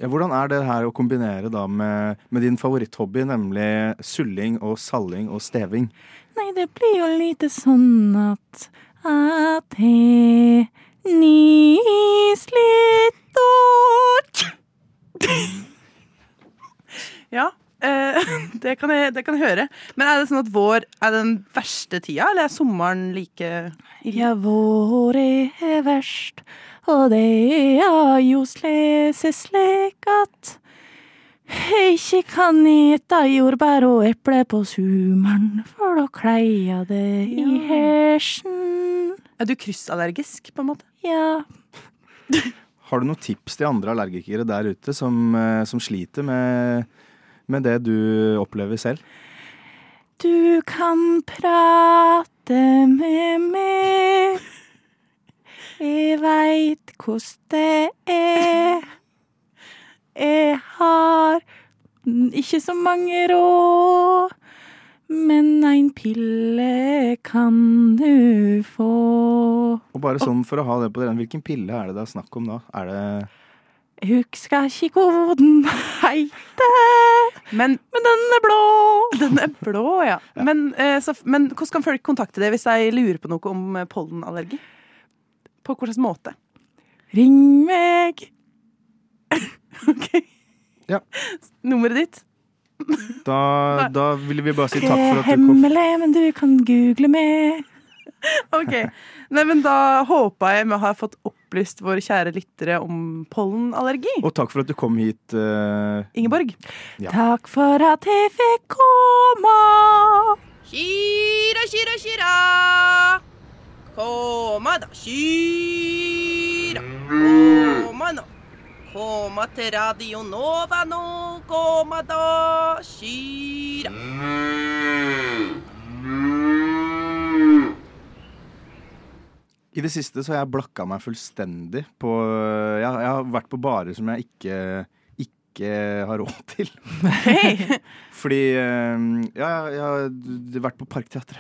Ja, hvordan er det her å kombinere da med, med din favoritthobby, nemlig sulling og salling og steving?
Nei, det blir jo lite sånn at at jeg nys litt og
Ja, eh, det, kan jeg, det kan jeg høre. Men er det sånn at vår er den verste tida, eller er sommeren like
Ja, vår er verst, og det er jo slese slik at jeg ikke kan ete jordbær og eple på sumeren, for da kleier det i hersen.
Er du kryssallergisk, på en måte?
Ja.
Har du noen tips til andre allergikere der ute som, eh, som sliter med, med det du opplever selv?
Du kan prate med meg. Jeg veit koss det er. Jeg har ikke så mange råd, men en pille kan du få.
Og bare sånn for å ha det på den, hvilken pille er det det er snakk om da? Er det
Jeg husker ikke koden heiter,
men,
den er blå.
Den er blå, ja. Men, eh, så, men hvordan kan folk kontakte deg hvis de lurer på noe om eh, pollenallergi? På hvilken måte?
Ring meg.
Nummeret ditt?
Da, da ville vi bare si takk for
Det er
at du kom.
hemmelig, men du kan google meg.
OK. Nei, men da håper jeg vi har fått opplyst våre kjære lyttere om pollenallergi.
Og takk for at du kom hit. eh,
Ingeborg.
Ja.
Takk for at jeg fikk komme.
Shira, shira, shira. Koma da, shira. Koma nå. Koma til Radio Nova nå. Koma da, shira.
I det siste så har jeg blakka meg fullstendig på Jeg, jeg har vært på barer som jeg ikke, ikke har råd til. Fordi eh, Ja, jeg har vært på Parkteatret.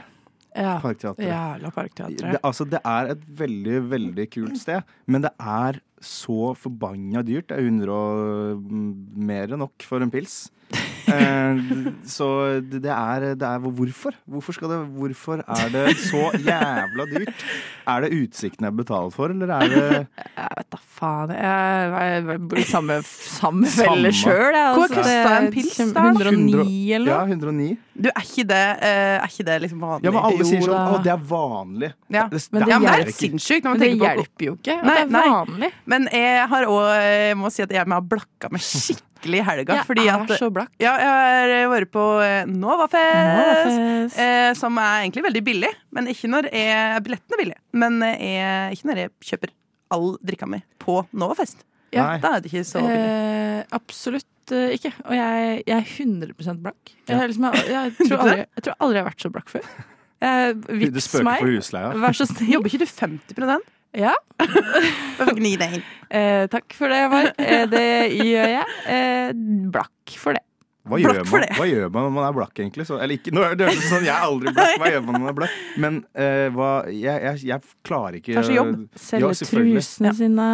Ja,
Parkteatret.
Jævla Parkteatret.
Det, altså, det er et veldig, veldig kult sted, men det er mm, så forbanna dyrt. Det er 100 og mer enn nok for en pils. Eh, Så det det er, det er Hvorfor? Hvorfor, skal det, hvorfor er det så jævla dyrt? Er det utsikten jeg betaler for, eller er det
Faen, jeg jeg- jeg bor i samme, samme
Samme.
felle altså. sjøl.
Hva kosta en pils der, da?
109 eller
Ja,
noe?
109.
Du, er ikke det, eh, er ikke det liksom vanlig?
Ja, men alle sier
Jo
sånn
da.
Å, det er vanlig.
Ja, men det,
er
er
ikke.
helt sinnssykt. når man
Men det
tenker på-
hjelper jo ikke at
Nei,
det er
nei.
vanlig.
Men jeg har òg må si at jeg har blakka meg skikkelig i helga.
Jeg
fordi
er
at,
så blakk.
Ja, jeg har vært på eh, Novafest,
Novafest.
eh, som er egentlig veldig billig. Men ikke når jeg, billetten er billig. Men eh, jeg, ikke når jeg kjøper all drikka mi på Novafest.
Ja.
Da er det ikke så billig.
Eh, absolutt eh, ikke. Og jeg, jeg er 100 blakk. Jeg,
Ja.
er liksom, jeg, jeg, tror aldri, jeg tror aldri jeg har vært så blakk før. Eh,
Du
vips
spøker
meg.
for husleia.
Vær så snill. Jobber
ikke du 50
Ja.
Gni deg inn.
Eh, takk for det, Mar. Eh, det gjør jeg. Eh, blakk for det.
Hva gjør, man, hva gjør man når man er blakk, egentlig? Så, eller ikke, nå er det høres ut som sånn, jeg er aldri blakk. Hva gjør man når man er blakk? Men eh, hva, jeg, jeg, jeg klarer ikke
Kanskje jobb.
Ja,
Selge
selvfølgelig.
trusene sine.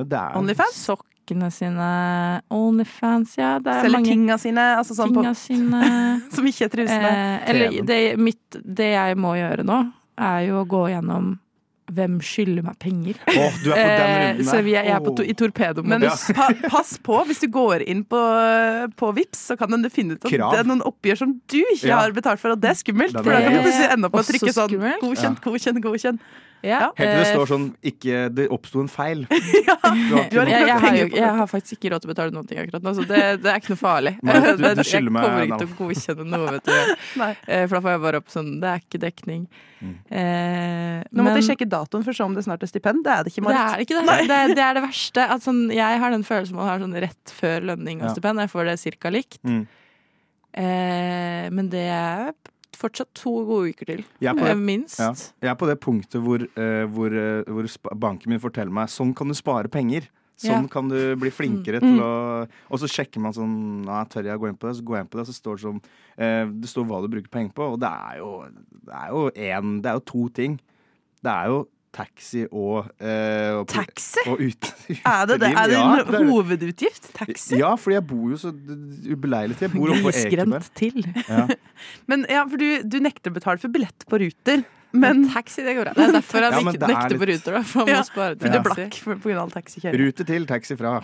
Ja, det er
Sokkene sine. Onlyfans, ja. Det er
Selger
mange
tinga sine. Altså sånn på,
tinga sine.
som ikke er trusene.
Eh, eller det, mitt, det jeg må gjøre nå, er jo å gå gjennom hvem skylder meg penger.
Åh, du er på den
Eh,
runden
så
der.
vi er, jeg er på to, i
Men
torpedomodus.
pa, pass på, hvis du går inn på, på Vips, så kan den finne ut at
Krav.
det er noen oppgjør som du ikke
Ja.
har betalt for, og det er skummelt.
Det er
For da kan du
veldig-
plutselig ende opp med å
Også
trykke sånn
skummelt.
godkjent, godkjent, godkjent. Eh, Ja.
Helt
Eh,
til det står sånn ikke, Det oppsto en feil. Du har ikke
jeg, jeg,
noe
har
penger
jo,
på det.
jeg har faktisk ikke råd til å betale noen ting akkurat nå, så det, det er ikke noe farlig.
Nei, du- du
Men jeg
skylder meg
kommer
en
ikke til å godkjenne noe, vet du. Eh, For da får jeg bare opp sånn Det er ikke dekning. Eh,
Nå måtte
men-
jeg sjekke datoen for å se om det snart er stipend. Det er det ikke,
Det
Marit.
er ikke det. det. Det er det verste. At sånn, jeg har den følelsen man har sånn rett før lønning og
Ja.
stipend. Jeg får det cirka likt.
Mm.
Eh, men det er fortsatt to gode uker til.
Jeg er på det-
Eh, Minst.
Ja. Jeg er på det punktet hvor, eh, hvor, eh, hvor spa- banken min forteller meg sånn kan du spare penger. Sånn
Ja.
kan du bli flinkere
Mm.
til å Og så sjekker man sånn Nei, tør jeg å gå inn på det? Så går jeg inn på det, og så står det sånn eh, Det står hva du bruker penger på, og det er jo Det er jo én Det er jo to ting. Det er jo taxi og, eh, og
Taxi?
Og ut,
Er det, det?
uteliv.
Er det
Ja, det er-
en hovedutgift? Taxi?
Ja, fordi jeg bor jo så d- ubeleilig til. Jeg bor oppe på Ekeberg.
Grisgrendt til.
Ja.
Men ja, for du, du nekter å betale for billett på Ruter. Men
taxi, det går bra. Det er derfor han
Ja, men
ikke
det er
nekter på
litt-
ruter, da. For han
Ja,
må spare
for du er
taxi.
blakk for- på grunn av taxikjøring.
Rute til, taxi fra.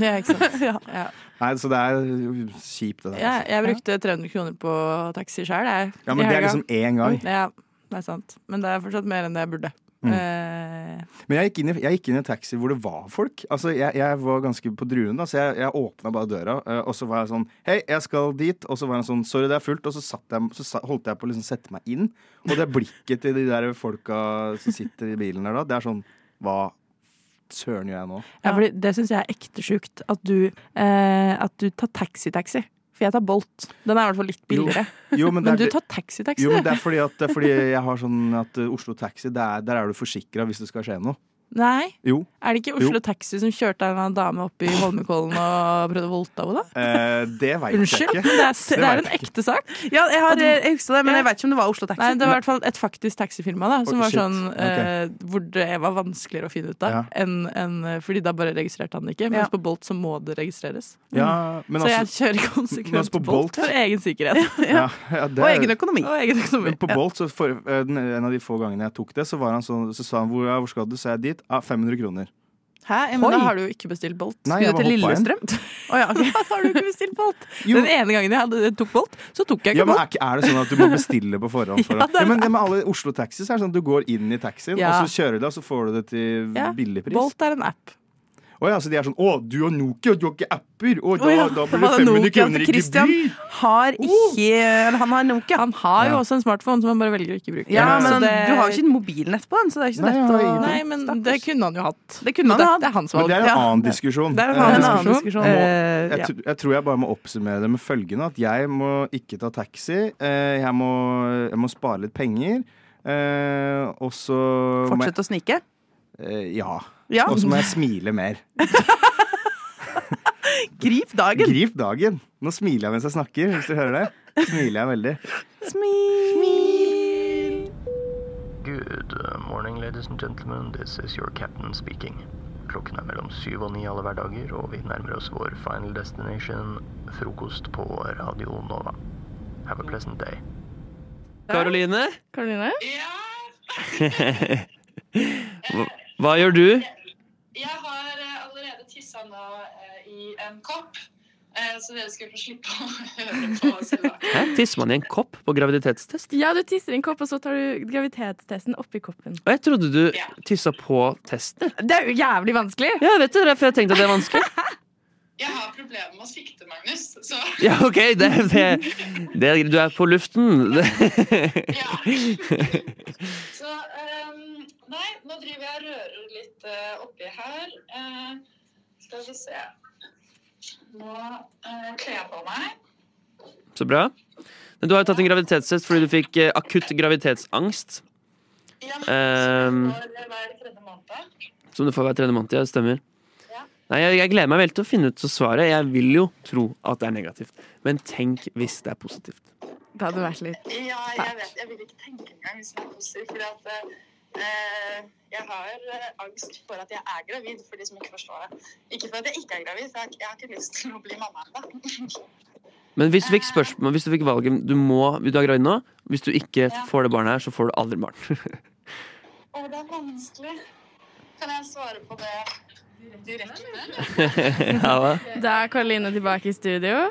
Ja, ikke sant.
Ja.
Ja.
Nei, så det er jo kjipt, det der.
Jeg,
altså.
jeg brukte 300 kroner på taxi sjøl, jeg.
Ja, men
i
det er
helga.
liksom én gang.
Ja, det er sant. Men det er fortsatt mer enn det jeg burde.
Mm.
Eh,
Men jeg gikk inn i, jeg gikk inn i en taxi hvor det var folk. Altså, jeg, jeg var ganske på druen, da, så jeg, jeg åpna bare døra. eh, Og så var jeg sånn Hei, jeg skal dit. Og så var han sånn Sorry, det er fullt. Og så, satt jeg, så sa- holdt jeg på å liksom sette meg inn. Og det blikket til de der folka som sitter i bilen der da, det er sånn Hva søren gjør jeg nå?
Ja, fordi Det syns jeg er ekte sjukt. At du, eh, at du tar taxi-taxi. For jeg tar Bolt. Den er i hvert fall litt billigere.
Jo, jo, men det er
du
det-
tar taxi-taxi,
Jo, men det
du.
er fordi, at, det er fordi jeg har sånn at eh, Oslo Taxi, det er, der er du forsikra hvis det skal skje noe.
Nei.
Jo.
Er det ikke
Jo.
Oslo Taxi som kjørte en eller annen dame opp i Holmenkollen og prøvde å voldta henne, da?
Eh, det veit jeg
Unnskyld, men
ikke.
det er, det
vet
er
jeg
en
ikke.
ekte sak.
Ja, jeg, har, eh,
Og du-
jeg husker det, men jeg
Ja.
vet ikke om det var Oslo Taxi.
Nei, det var i hvert fall et faktisk taxifirma da, som
Oh,
var
shit.
sånn eh, hvor det var vanskeligere å finne ut av.
Ja.
Enn, enn- eh, fordi da bare registrerte han det ikke.
Ja.
Mens på Bolt så må det registreres.
Mm. Ja, men
så
altså-
jeg kjører
mens
konsekvent
på
på Bolt,
Bolt-
for egen sikkerhet.
Ja, ja, det er-
Og egen økonomi.
Men på Bolt, så for, eh, den, en av de få gangene jeg tok det, så, var han sånn, så sa han hvor, ja, hvor skal du? Så jeg dit. Ja, 500 kroner.
Hæ? Ja, men da
Oi.
har du jo ikke bestilt Bolt.
Nei, jeg
Skulle du til
bare hoppa
Lillestrøm? Å ja, ok. Da har du ikke bestilt Bolt. Den ene gangen jeg hadde, tok Bolt, så tok jeg
Ja,
ikke
men er,
Bolt.
ikke- er det sånn at du må bestille på forhånd? For
Ja,
å-
det
ja,
er-
men, ja, men alle Oslo Taxi så er det sånn at du går inn i taxien,
Ja.
og så kjører du, og så får du det til
Ja,
billig pris.
Bolt er en app.
Å ja, så de er sånn Å, du har Nokia, du har ikke apper! Å, da,
Å ja, var
da
det
blir det 500
Nokia, for
kroner i
Christian
gebyr!
har
Oh.
ikke eller Han har Nokia.
Han har jo
Ja.
også en smartphone som han bare velger å ikke bruke.
Ja, men
Så det-
du har jo ikke en mobilnett på den, så det er ikke så
Nei,
lett
jeg har
å
ingenting. Nei, men det kunne han jo hatt.
Det kunne han
Det-
hatt.
det er hans
Men det er en
Ja.
annen diskusjon.
Det er en annen
Eh,
diskusjon.
Jeg, må,
Eh,
jeg,
ja.
tr- jeg tror jeg bare må oppsummere det med følgende at jeg må ikke ta taxi. eh, Jeg må, jeg må spare litt penger. eh, Og så må jeg-
Fortsett å snike.
Eh, ja.
Ja.
Og så må jeg smile mer.
Grip dagen!
Grip dagen. Nå smiler jeg mens jeg snakker, hvis du hører det. Smiler jeg veldig.
Good uh, morning, ladies and gentlemen. This is your captain speaking.
Klokken er mellom syv og ni alle hverdager, og vi nærmer oss vår final destination, frokost på Radio Nova. Have a pleasant day.
Karoline?
Karoline?
Hva, hva gjør du?
Jeg har eh, allerede tissa nå eh, i en kopp, eh, så dere skulle få slippe å høre på selv.
Hæ? Tisser man i en kopp på graviditetstest?
Ja, du tisser i en kopp, og så tar du graviditetstesten oppi koppen.
Og jeg trodde du tissa på testen.
Det er jo jævlig vanskelig!
Ja, vet du, det er derfor jeg tenkte at det er vanskelig.
Jeg har problemer med å sikte, Magnus, så
Ja, OK, det, det, det, du er på luften.
Så ehm, nei, nå driver jeg og rører litt eh, oppi her. Eh, skal vi se. Nå eh, kler jeg på meg.
Så bra. Men Du har jo tatt en graviditetstest fordi du fikk eh, akutt graviditetsangst. Ehm, som du får hver tredje måned. Ja, det stemmer. Nei, jeg, jeg gleder meg veldig til å finne ut så svaret. Jeg vil jo tro at det er negativt. Men tenk hvis det er positivt.
Det hadde vært litt
Ja, jeg vet, jeg vil ikke tenke engang hvis det er positivt, fordi at eh, jeg har eh, angst for at jeg er gravid, for de som ikke forstår det. Ikke for at jeg ikke er gravid, for jeg, har- jeg har ikke lyst til å bli mamma ennå.
Men hvis du fikk spørsmål, hvis du fikk valget du må, Vil du ha gravid nå? Hvis du ikke får det barnet her, så får du aldri barn.
Å, det er vanskelig. Kan jeg svare på det direkte?
ja, da.
Da er Karoline tilbake i studio.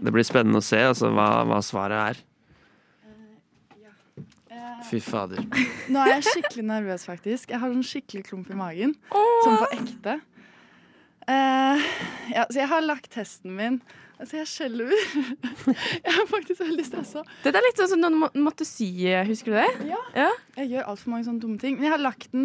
Det blir spennende å se altså, hva, hva svaret er. Fy fader.
Nå er jeg skikkelig nervøs, faktisk. Jeg har sånn skikkelig klump i magen. Sånn på ekte. Eh, ja, så jeg har lagt testen min. Altså, jeg skjelver. jeg er faktisk veldig stressa.
Dette er litt sånn som noen må- måtte sy, husker du det?
Ja. Jeg gjør altfor mange sånne dumme ting. Men jeg har lagt den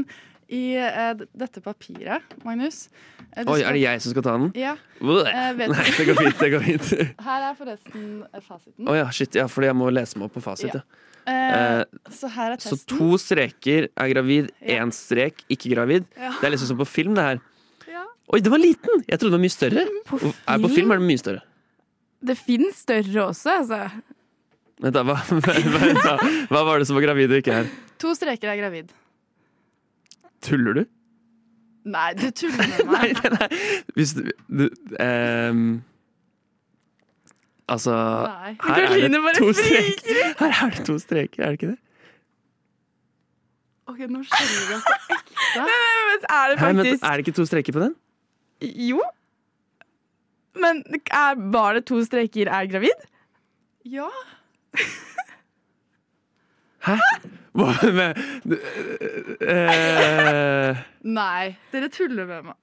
i eh, d- dette papiret, Magnus. Eh, du
Oi,
skal-
er det jeg som skal ta den?
Ja.
Bleh.
Eh, vet du-
Nei, det går fint. det går fint
Her er forresten eh, fasiten.
Å ja, shit, ja, fordi jeg må lese meg opp på fasit.
Ja.
Ja.
Eh,
Eh,
så her er
så
testen.
to streker er gravid, én strek ikke gravid.
Ja.
Det er liksom som på film, det her. Oi, den var liten! Jeg trodde den var mye større. Er, på film er den mye større.
Det finnes større også, altså.
Vent, da. Hva, vent da. Hva var det som var gravid og ikke her?
To streker er gravid.
Tuller du?
Nei, du tuller med meg.
Hvis du, du ehm, Altså
Nei.
Her er
Karoline
det
bare
to
friker.
streker, her er det to streker, er det ikke det?
Ok, nå skjelver jeg på ekte.
Er det
Hæ, men,
faktisk
er det ikke to streker på den?
Jo. Men er, var det to streker er gravid?
Ja.
Hæ? Hva med du, eh,
Nei, dere tuller med meg.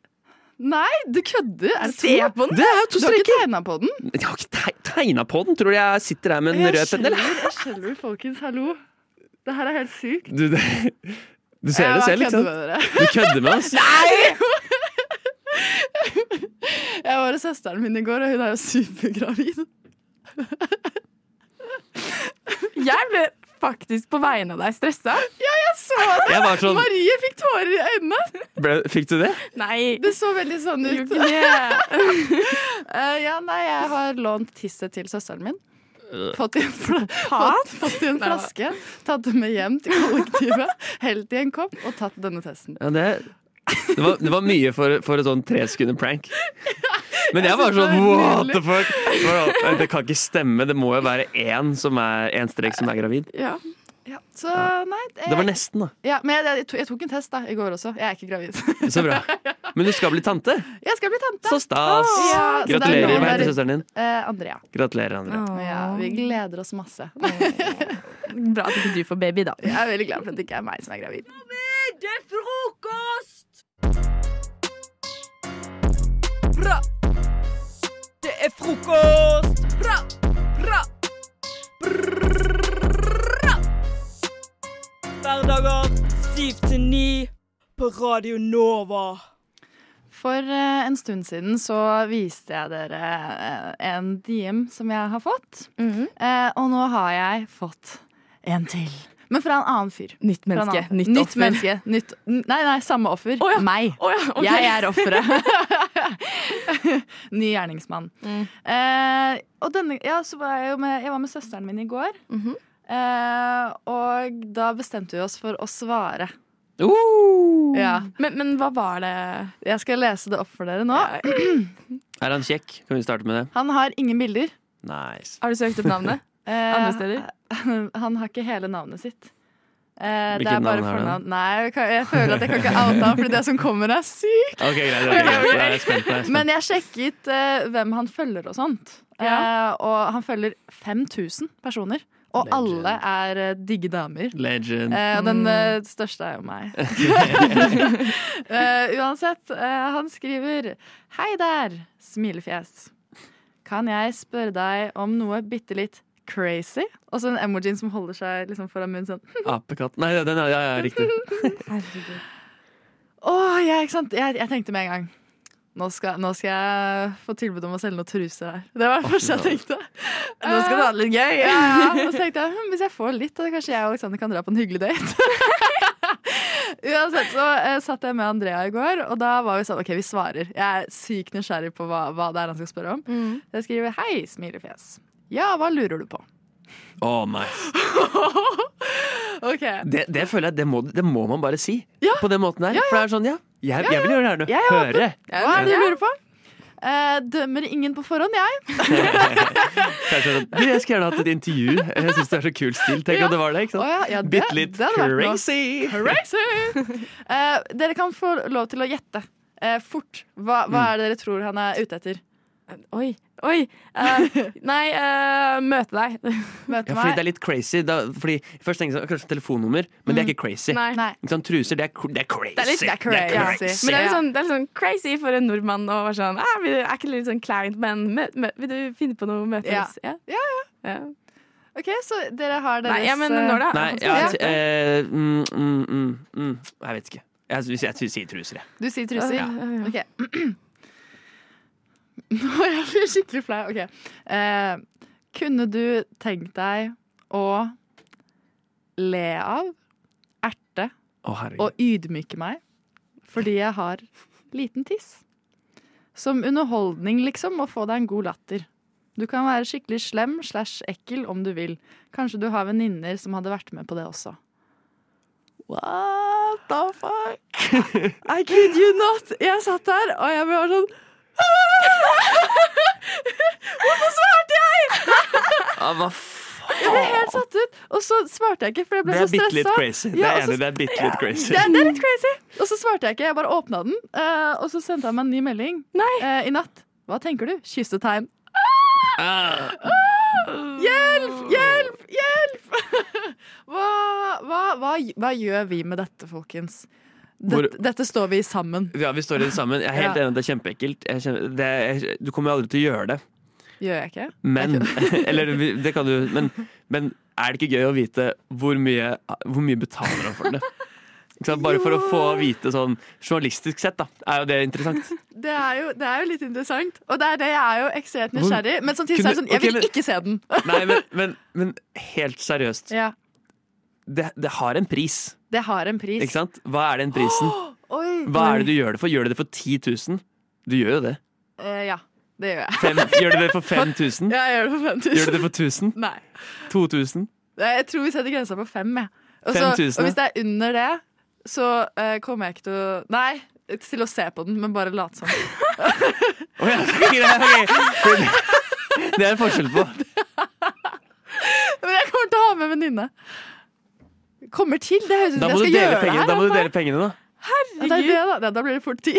Nei, du kødder! Er det
Se
to?
på den. Det er jo to
Du har ikke tegna på den?
Jeg har ikke teg- tegna på den! Tror du jeg sitter her med en
Jeg
rød penn, eller?
skjelver, jeg skjelver, folkens. Hallo. Det her er helt sykt.
Du, det, du ser sånn-
Jeg
det
bare
selv, ikke
kødder
sant?
med dere.
Du kødder med oss?
Jeg var hos søsteren min i går, og hun er jo supergravid.
Jeg ble faktisk på vegne av deg stressa.
Ja, jeg så det!
Jeg var sånn-
Marie fikk tårer i øynene.
Ble, fikk du det?
Nei.
Det så veldig sånn ut.
Gjorde
Eh, ja, nei, jeg har lånt tisset til søsteren min. Fått i en, fla
Hat?
fått, fått i en
Øh. Nei, hva?
flaske, tatt det med hjem til kollektivet, helt i en kopp og tatt denne testen.
Ja, det, det, var, det var mye for, for et sånn tre sekunder prank. Men jeg var
synes
sånn
det var
what
nydelig.
the fuck? Det var sånn, Det kan ikke stemme, det må jo være én som er, en strek som er gravid.
Ja. Så nei jeg-
Det var nesten, da.
Ja, men jeg, jeg, to- jeg tok en test da, i går også. Jeg er ikke gravid.
Så bra. Men du skal bli tante.
Jeg skal bli tante.
Så stas.
Ja, så det er
Gratulerer.
lov
Hva
der-
heter søsteren din?
Eh, Andrea.
Gratulerer, Andrea.
Ja, vi gleder oss masse.
Bra at ikke du får baby, da.
Jeg er veldig glad for at det ikke er meg som er gravid.
Det er frokost!
Bra! Det er frokost! Bra! Bra! Bra! Hverdager 7 til 9 på Radio Nova.
For eh, en stund siden så viste jeg dere eh, en DM som jeg har fått.
Mhm.
eh, og nå har jeg fått en til. Men fra en annen fyr. Nytt
menneske, nytt offer.
Menneske, nytt, nei, nei, samme offer. Meg.
ok.
Jeg er offeret. Ny gjerningsmann. Eh, og denne, ja, så var jeg, jo med, jeg var med søsteren Mhm. min i går. eh, og da bestemte vi oss for å svare. Ja. Men, men hva var det? Jeg skal lese det opp for dere nå.
Er han kjekk? Kan vi starte med det?
Han har ingen bilder.
Nice.
Har du søkt
opp navnet?
Andre steder? Han har ikke hele navnet sitt. Eh, det
Hvilket
er bare
navn har han?
fornavn. Nei, jeg, kan, jeg føler at jeg kan ikke oute ham, for det som kommer, er sykt.
Ok, greit. ok, greit. Da er jeg spent. da er jeg spent.
Men jeg sjekket eh, hvem han følger og sånt. Eh, og han følger 5000 personer. Og alle er eh, digge
Mm.
damer.
Legend.
Eh, og den eh, største er jo meg. Eh, uansett, eh, han skriver Hei der, smilefjes. Kan jeg spørre deg om noe bitte litt crazy? Og så en emojien som holder seg liksom foran munnen sånn.
Apekatt Nei, den er ja, ja, riktig.
Åh, ja, ikke sant? Jeg, jeg tenkte med en gang nå skal, nå skal jeg få tilbud om å selge noen truser her. Det var det første jeg tenkte.
Nå skal du ha det litt gøy.
Ja, ja. Og så tenkte jeg, hm, hvis jeg får litt, da kanskje jeg og Alexander kan dra på en hyggelig date. Uansett så eh, satt jeg med Andrea i går, og da var vi sånn OK, vi svarer. Jeg er sykt nysgjerrig på hva, hva det er han skal spørre om.
Mm.
Så jeg skriver 'Hei, smilefjes'. Ja, hva lurer du på?
Å, nice.
OK.
Det, det føler jeg, det må, det må man bare si. På den måten der. For det er sånn, ja. Jeg, jeg vil gjøre det her nå.
Jeg er åpen.
Høre.
Hva er det du lurer på? Eh, dømmer ingen på forhånd, jeg.
Jeg, sånn, du, jeg skulle gjerne hatt et intervju. Jeg syns det er så kul stil. Tenk
Ja.
om det var det. ikke sant?
Å ja, ja, det-
Bitte litt
det hadde vært noe.
crazy.
Crazy! Eh, dere kan få lov til å gjette eh, fort. Hva, hva
Mm.
er det dere tror han er ute etter?
Oi. Oi! eh, nei, eh, møte deg.
Ja, fordi det er litt crazy. Da, fordi Først tenkte jeg sånn, kanskje telefonnummer, men det er ikke crazy.
Nei. Nei.
Ikke sant, truser, det er, cr- det er crazy.
Det er litt
crazy.
Men det er, litt sånn, det er litt sånn crazy for en nordmann å være sånn ah, vil, du- Er ikke det litt sånn kleint, men mø, mø, vil du finne på noe møtes?
Ja.
Ja. Ja.
OK, så dere har deres
Nei, ja, men når det er-
Nei, ja, eh, mm, mm, mm, mm, jeg vet ikke. Jeg, jeg, jeg, sier truser, jeg.
eh, Du sier truser?
Ja.
Ok. Nå er jeg skikkelig flau. Ok. Eh, kunne du tenkt deg å le av, erte
Å, herregud.
og ydmyke meg fordi jeg har liten tiss? Som underholdning, liksom, å få deg en god latter. Du kan være skikkelig slem slash ekkel om du vil. Kanskje du har venninner som hadde vært med på det også. What the fuck? I kid you not! Jeg satt der, og jeg var sånn Hvorfor svarte jeg?!
Ah, hva
Jeg ble helt satt ut, og så svarte jeg ikke, for jeg ble
Det er
så stressa.
bitte litt crazy. Det
Ja,
er
og så-
enig, det er bitte litt crazy.
det er, det er litt crazy. Og så svarte jeg ikke. Jeg bare åpna den, eh, og så sendte han meg en ny melding eh, i natt. Hva tenker du? Kyssetegn.
Ah.
Hjelp! Hjelp! Hjelp! Hva, hva, hva, hva gjør vi med dette, folkens?
Hvor-
Dette, dette står vi i sammen.
Ja, vi står i det sammen. Jeg er helt
Ja.
enig, det er kjempeekkelt. Jeg kjem- det er, du kommer jo aldri til å gjøre det.
Gjør jeg ikke?
Men Eller vi- det kan du men, men er det ikke gøy å vite hvor mye, hvor mye betaler han for det? Ikke sant? Bare for å få vite sånn journalistisk sett, da. Er jo det interessant?
Det er, jo, det er jo litt interessant. Og det er det jeg er jo ekstremt nysgjerrig. Men samtidig så er det
Kunne-
sånn, jeg vil
ok, men-
ikke se den.
Nei, men, men, men helt seriøst.
Ja,
Det, det har en pris,
det har en pris.
ikke sant? Hva er den prisen?
Oi.
Hva er det du gjør det for? Gjør du det for 10 000? Du gjør jo det.
Eh, ja, det gjør jeg.
Fem, gjør du det for 5000?
Ja, jeg gjør det for 5000.
Gjør du det for 1000?
Nei.
2000?
Nei, Jeg tror vi setter grensa på fem. Jeg. Og, så,
5000,
og hvis det er under det, så eh, kommer jeg ikke til å Nei, til å se på den, men bare late som.
Å ja, greit, ok. Det er en forskjell på.
men jeg kommer til å ha med en venninne. Kommer til! Det høres ut
Da
som
må du
jeg skal
dele
gjøre det
pengene,
her.
da må du
altså.
dele pengene da.
Ja, det er det, da. Ja, da blir det fort ti.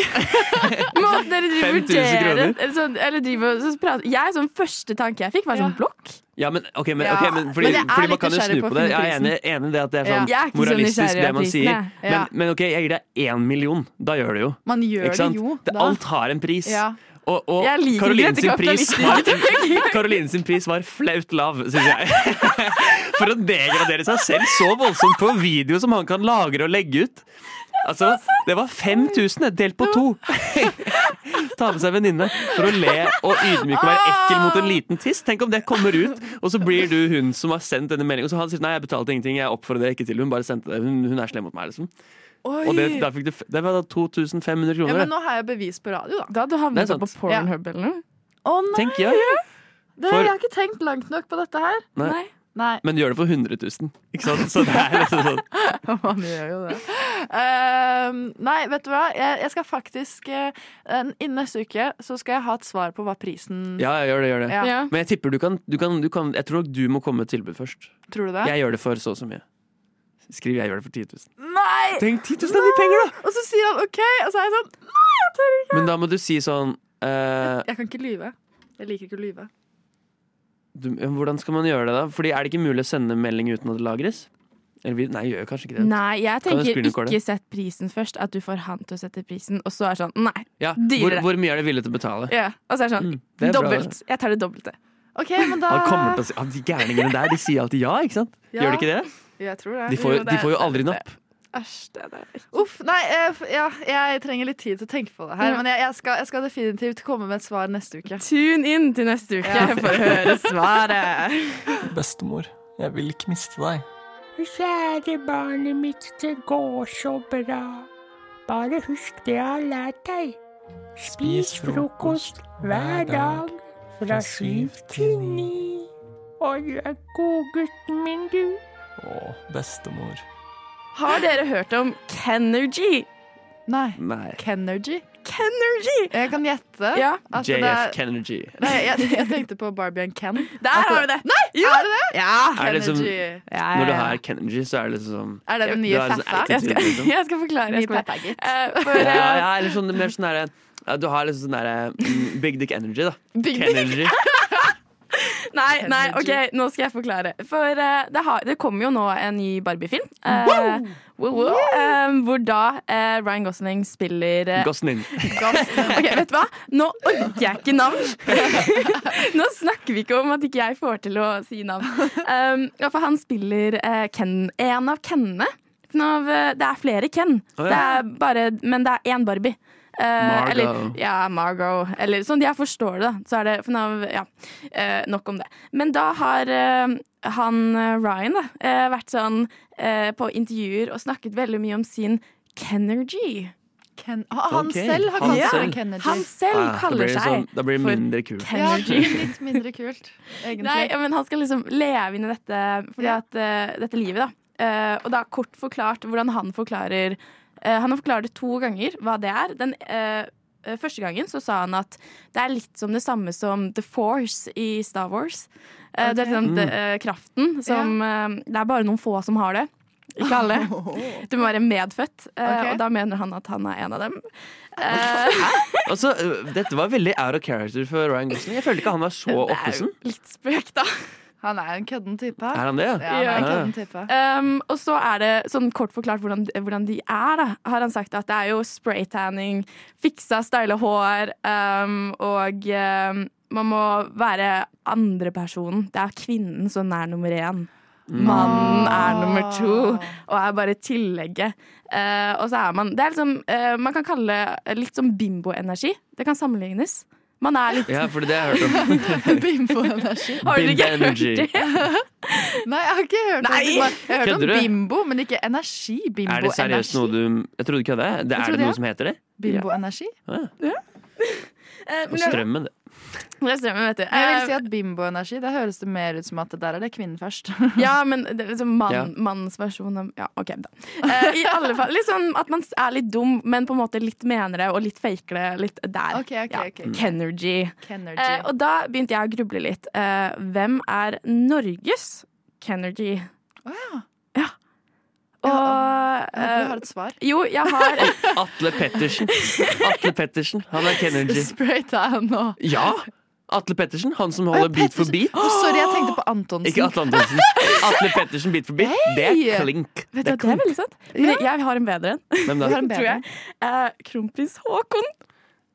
Måten dere driver
5000 kroner.
vurderer eller, sånn, eller driver, så prater. Jeg, sånn første tanke jeg fikk, var sånn blokk.
Ja, men, ok, men,
Ja,
ok, men fordi,
men jeg er
fordi man
litt
kan jo
nysgjerrig
snu
på
på det. Jeg er
prisen.
enig, enig i det at det er
Ja.
sånn
Jeg er ikke så
moralistisk,
nysgjerrig
det
av
man
prisen,
sier.
jeg.
Men,
Ja.
men ok, jeg gir deg én million. Da gjør det jo.
Man gjør det jo, da.
alt har en pris.
Ja.
Og, og
Jeg liker
Caroline sin,
ikke dette
pris
kapitalistiske
var, Caroline sin pris var flaut lav, syns jeg. For å degradere seg selv så voldsomt på en video som han kan lagre og legge ut. Altså, det var 5000 delt på to. Ta med seg venninne for å le og ydmyke og være ekkel mot en liten tiss. Tenk om det kommer ut, og så blir du hun som har sendt denne meldingen. Og så han sier nei, jeg betalte ingenting, jeg oppfordrer ikke til det, hun bare sendte det. Hun, hun er slem mot meg, liksom.
Oi.
Og det, da fikk du, f- det var da 2500
Ja,
kroner.
men nå har jeg bevis på radio, da.
Da hadde du
Det er sant.
eller noe.
Å nei!
Tenk, ja.
Det,
For-
jeg har ikke tenkt langt nok på dette her.
Nei.
Nei.
Men du gjør det for 100 000.
Ikke sant? Så det er liksom sånn
Man gjør jo det. Ehm, nei, vet du hva? Jeg, jeg skal faktisk eh, en- Innen neste uke så skal jeg ha et svar på hva prisen
Ja, jeg gjør det. gjør det
Ja.
Men jeg tipper du kan, du kan, du kan Jeg tror nok du må komme med et tilbud først.
Tror du det?
Jeg gjør det for så og så mye. Skriv 'jeg gjør det for 10 000'.
Nei!
Tenk 10 000 er mye penger,
da! Og så sier han OK, og så er jeg sånn Nei, jeg tør ikke!
Men da må du si sånn eh,
Jeg kan ikke lyve. Jeg liker ikke å lyve.
du, Hvordan skal man gjøre det, da? Fordi Er det ikke mulig å sende melding uten at det lagres? Eller, vi- nei, gjør jo kanskje ikke det.
Nei, jeg
Kan du
tenker
screen recorder?
ikke sett prisen først. At du får han til å sette prisen, og så er det sånn Nei,
ja, hvor,
dyrere.
hvor mye er du villig til å betale?
Ja, og så er det sånn
Mm, det er bra,
Dobbelt. Jeg tar det dobbelte.
OK, men da
Han kommer til å si ah, De gærningene der, de sier alltid ja, ikke sant?
Ja.
Gjør de ikke det?
Jeg tror det.
De får,
Jo,
jo-
det
de
er-
får jo aldri napp.
Æsj, det der.
Oh,
Uff, nei, eh, f- ja, jeg trenger litt tid til å tenke på det her.
Ja.
Men jeg, jeg, skal, jeg skal definitivt komme med et svar neste uke.
Tune inn til neste uke
Ja.
for å høre svaret.
Bestemor, jeg vil ikke miste deg.
Kjære barnet mitt, det går så bra. Bare husk det jeg har lært deg. Spis frokost hver dag fra syv til ni. Og du er godgutten min, du.
Å, bestemor.
Har dere hørt om Kenergy?
Nei.
Nei.
Kenergy?
Kenergy!
Jeg kan gjette.
Ja.
at det
JF
er-
Kennedy.
Nei, jeg, jeg tenkte på Barbie and Ken.
Der har vi det!
Nei, er det det?
Er det liksom,
Kennedy.
når du har Kennedy, så er det liksom sånn
Er det den
du
nye
har en sånn
Faffa?
attitude,
Jeg skal-
liksom.
Jeg skal forklare. Jeg
Ny
skal
pappa, gitt.
Eh, for,
ja,
eh,
ja, eller sånn, mer sånn derre ja, Du har liksom sånn derre mm, Big Dick Energy, da.
Big Dick-
Kennedy.
Nei, nei, ok, nå skal jeg forklare. For eh, det, har, det kommer jo nå en ny Barbie-film. eh,
Wow!
wow, wow, eh, hvor da eh, Ryan Gosling spiller eh,
Gosling.
Ok, vet du hva? Nå orker jeg ikke navn. Nå snakker vi ikke om at ikke jeg får til å si navn. Um, ja, for han spiller eh, Ken, en av Kennene. En Av, eh, det er flere Ken,
Å, ja.
det er bare, men det er én Barbie. Eh,
Margot.
Eller, ja, Margot. Eller sånn jeg forstår det, da. Så er det for nav, ja, eh, nok om det. Men da har eh, han eh, Ryan da, eh, vært sånn eh, på intervjuer og snakket veldig mye om sin Kenergy.
Ken Ah, han
Ok,
selv har
han
kalt seg
selv.
Kennedy.
Han selv
Ah, da
kaller
blir det
seg
sånn- Da blir det mindre kult.
Ja, litt mindre kult, egentlig.
Nei, ja, men han skal liksom leve inn i dette, fordi at, eh, dette livet, da. Eh, og da kort forklart hvordan han forklarer eh, Han har forklart det to ganger hva det er. Den eh, eh, første gangen så sa han at det er litt som det samme som The Force i Star Wars. Eh, Det er
Ok.
sånn,
Mm.
det, eh, kraften som eh, Det er bare noen få som har det. Ikke alle.
Oh.
Du må være medfødt, eh,
Ok.
og da mener han at han er en av dem. Eh,
Altså, øh, dette var veldig out of character for Ryan Gosling. Jeg følte ikke han var så oppesen.
Litt spøk, da.
Han er en kødden type.
Er han det?
Ja, han er en kødden type.
Um, og så er det sånn kort forklart hvordan, hvordan de er, da. Har han sagt at det er jo spraytanning, fiksa, styla hår, um, og um, man må være andrepersonen. Det er kvinnen som er nummer én. Mannen er nummer to og er bare tillegget. Eh, og så er man Det er liksom eh, Man kan kalle det litt som bimboenergi. Det kan sammenlignes. Man er litt
Ja, for det har jeg hørt om.
Bimbo-energi.
Har dere ikke hørt
Bimbo-energi.
det?
Nei, jeg har ikke hørt om
Nei!
det. Bare- Jeg har hørt om
Kødder du?
bimbo, men ikke energi.
Er det seriøst
Bimbo-energi.
noe du Jeg trodde ikke det. det
Jeg
er
trodde
det noe
ja.
som heter det?
Bimbo-energi?
Ah,
Eh,
og strømmen, det.
Det er strømmen, vet du.
Jeg vil si at bimbo-energi, da høres det mer ut som at det der er det kvinnen først.
Ja, men det er liksom mann,
Ja.
mannens versjon av Ja, OK, da. Eh, I alle fall litt sånn at man er litt dum, men på en måte litt mener det og litt faker det litt der.
Ok, ok, ok.
Mm.
Kenergy.
Kenergy.
Eh, og da begynte jeg å gruble litt. Eh, hvem er Norges Kenergy?
Å ja.
Og
ja, du
eh,
har et svar.
Jo, jeg har
Atle Pettersen. Atle Pettersen, Han er Kennedy.
Spraytan og
Ja! Atle Pettersen, han som holder Beat for beat.
Å, Sorry, jeg tenkte på Antonsen.
Ikke Atle Antonsen. Atle Pettersen Beat for beat. Det
Hei!
er klink.
Vet
Det er
du, hva, det er
klink.
veldig sant. Men jeg- jeg har en bedre en.
Hvem da? Du har en bedre
Tror jeg. Eh, Kronprins Haakon.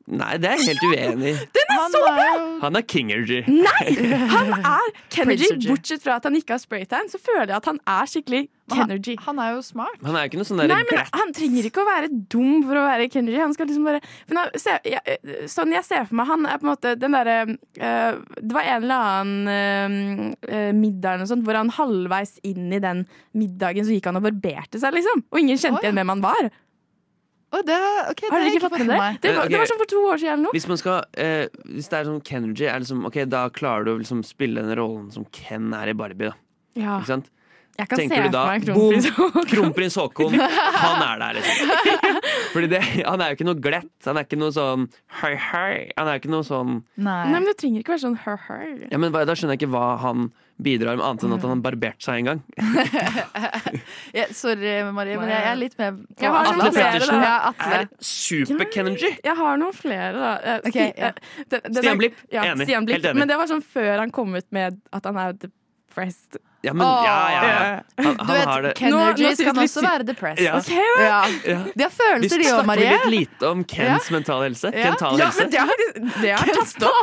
Nei, det er jeg helt uenig i.
Den er så bra!
Han er Kingergy.
Mm. Nei! Han er Kennedy.
Prince Reggie.
Bortsett fra at han ikke har spraytan, så føler jeg at han er skikkelig Kennedy.
Han er jo smart.
Han er jo ikke noe sånn
Nei,
derre
men Han trenger ikke å være dum for å være Kennedy. Han skal liksom bare men han, se, jeg, eh, Sånn jeg ser for meg Han er på en måte den derre eh, Det var en eller annen eh, eh, middag eller noe sånt hvor han halvveis inn i den middagen så gikk han og barberte seg, liksom. Og ingen kjente igjen hvem han var.
Å, det, ok, det
har dere
har jeg
ikke
ikke
fått
fått
med dere?
med meg.
Det, var-
Eh, ok.
det var sånn for to år siden eller noe.
Hvis man skal eh, Hvis det er sånn Kennergy, er det liksom, ok, da klarer du å liksom spille den rollen som Ken er i Barbie, da.
Ja.
Ikke sant?
Jeg Ah, kan
Tenker
se
du da,
for meg kronprins
boom,
Haakon.
Kronprins Haakon, han er der, liksom. Fordi det, han er jo ikke noe glatt. Han er ikke noe sånn hei, hei. Han er ikke noe sånn
Nei. men det trenger ikke være sånn her-her.
ja, men hva- Da skjønner jeg ikke hva han bidrar med, annet enn at han har barbert seg en gang.
Ja, sorry, Marie, men jeg, jeg er litt med på
Jeg har noen
Atle
flere,
Pettersen
da. Ja,
er super-Kenji.
Jeg har noen flere, da. Eh,
Ok, ja.
Sti- eh, det- det-
Stian Blipp,
ja,
enig.
Stian Blipp.
Helt enig.
Men det var sånn før han kom ut med at han er depressed.
Ja, men ja, ja, ja. Han, han har det
Kennergies kan
synes
også
litt-
være depressed.
Ja.
Ok, vel? Ja. De har følelser, de også, Marie.
Vi snakker litt lite om Kens mentale helse. Kentale helse.
men det har, det har tatt opp.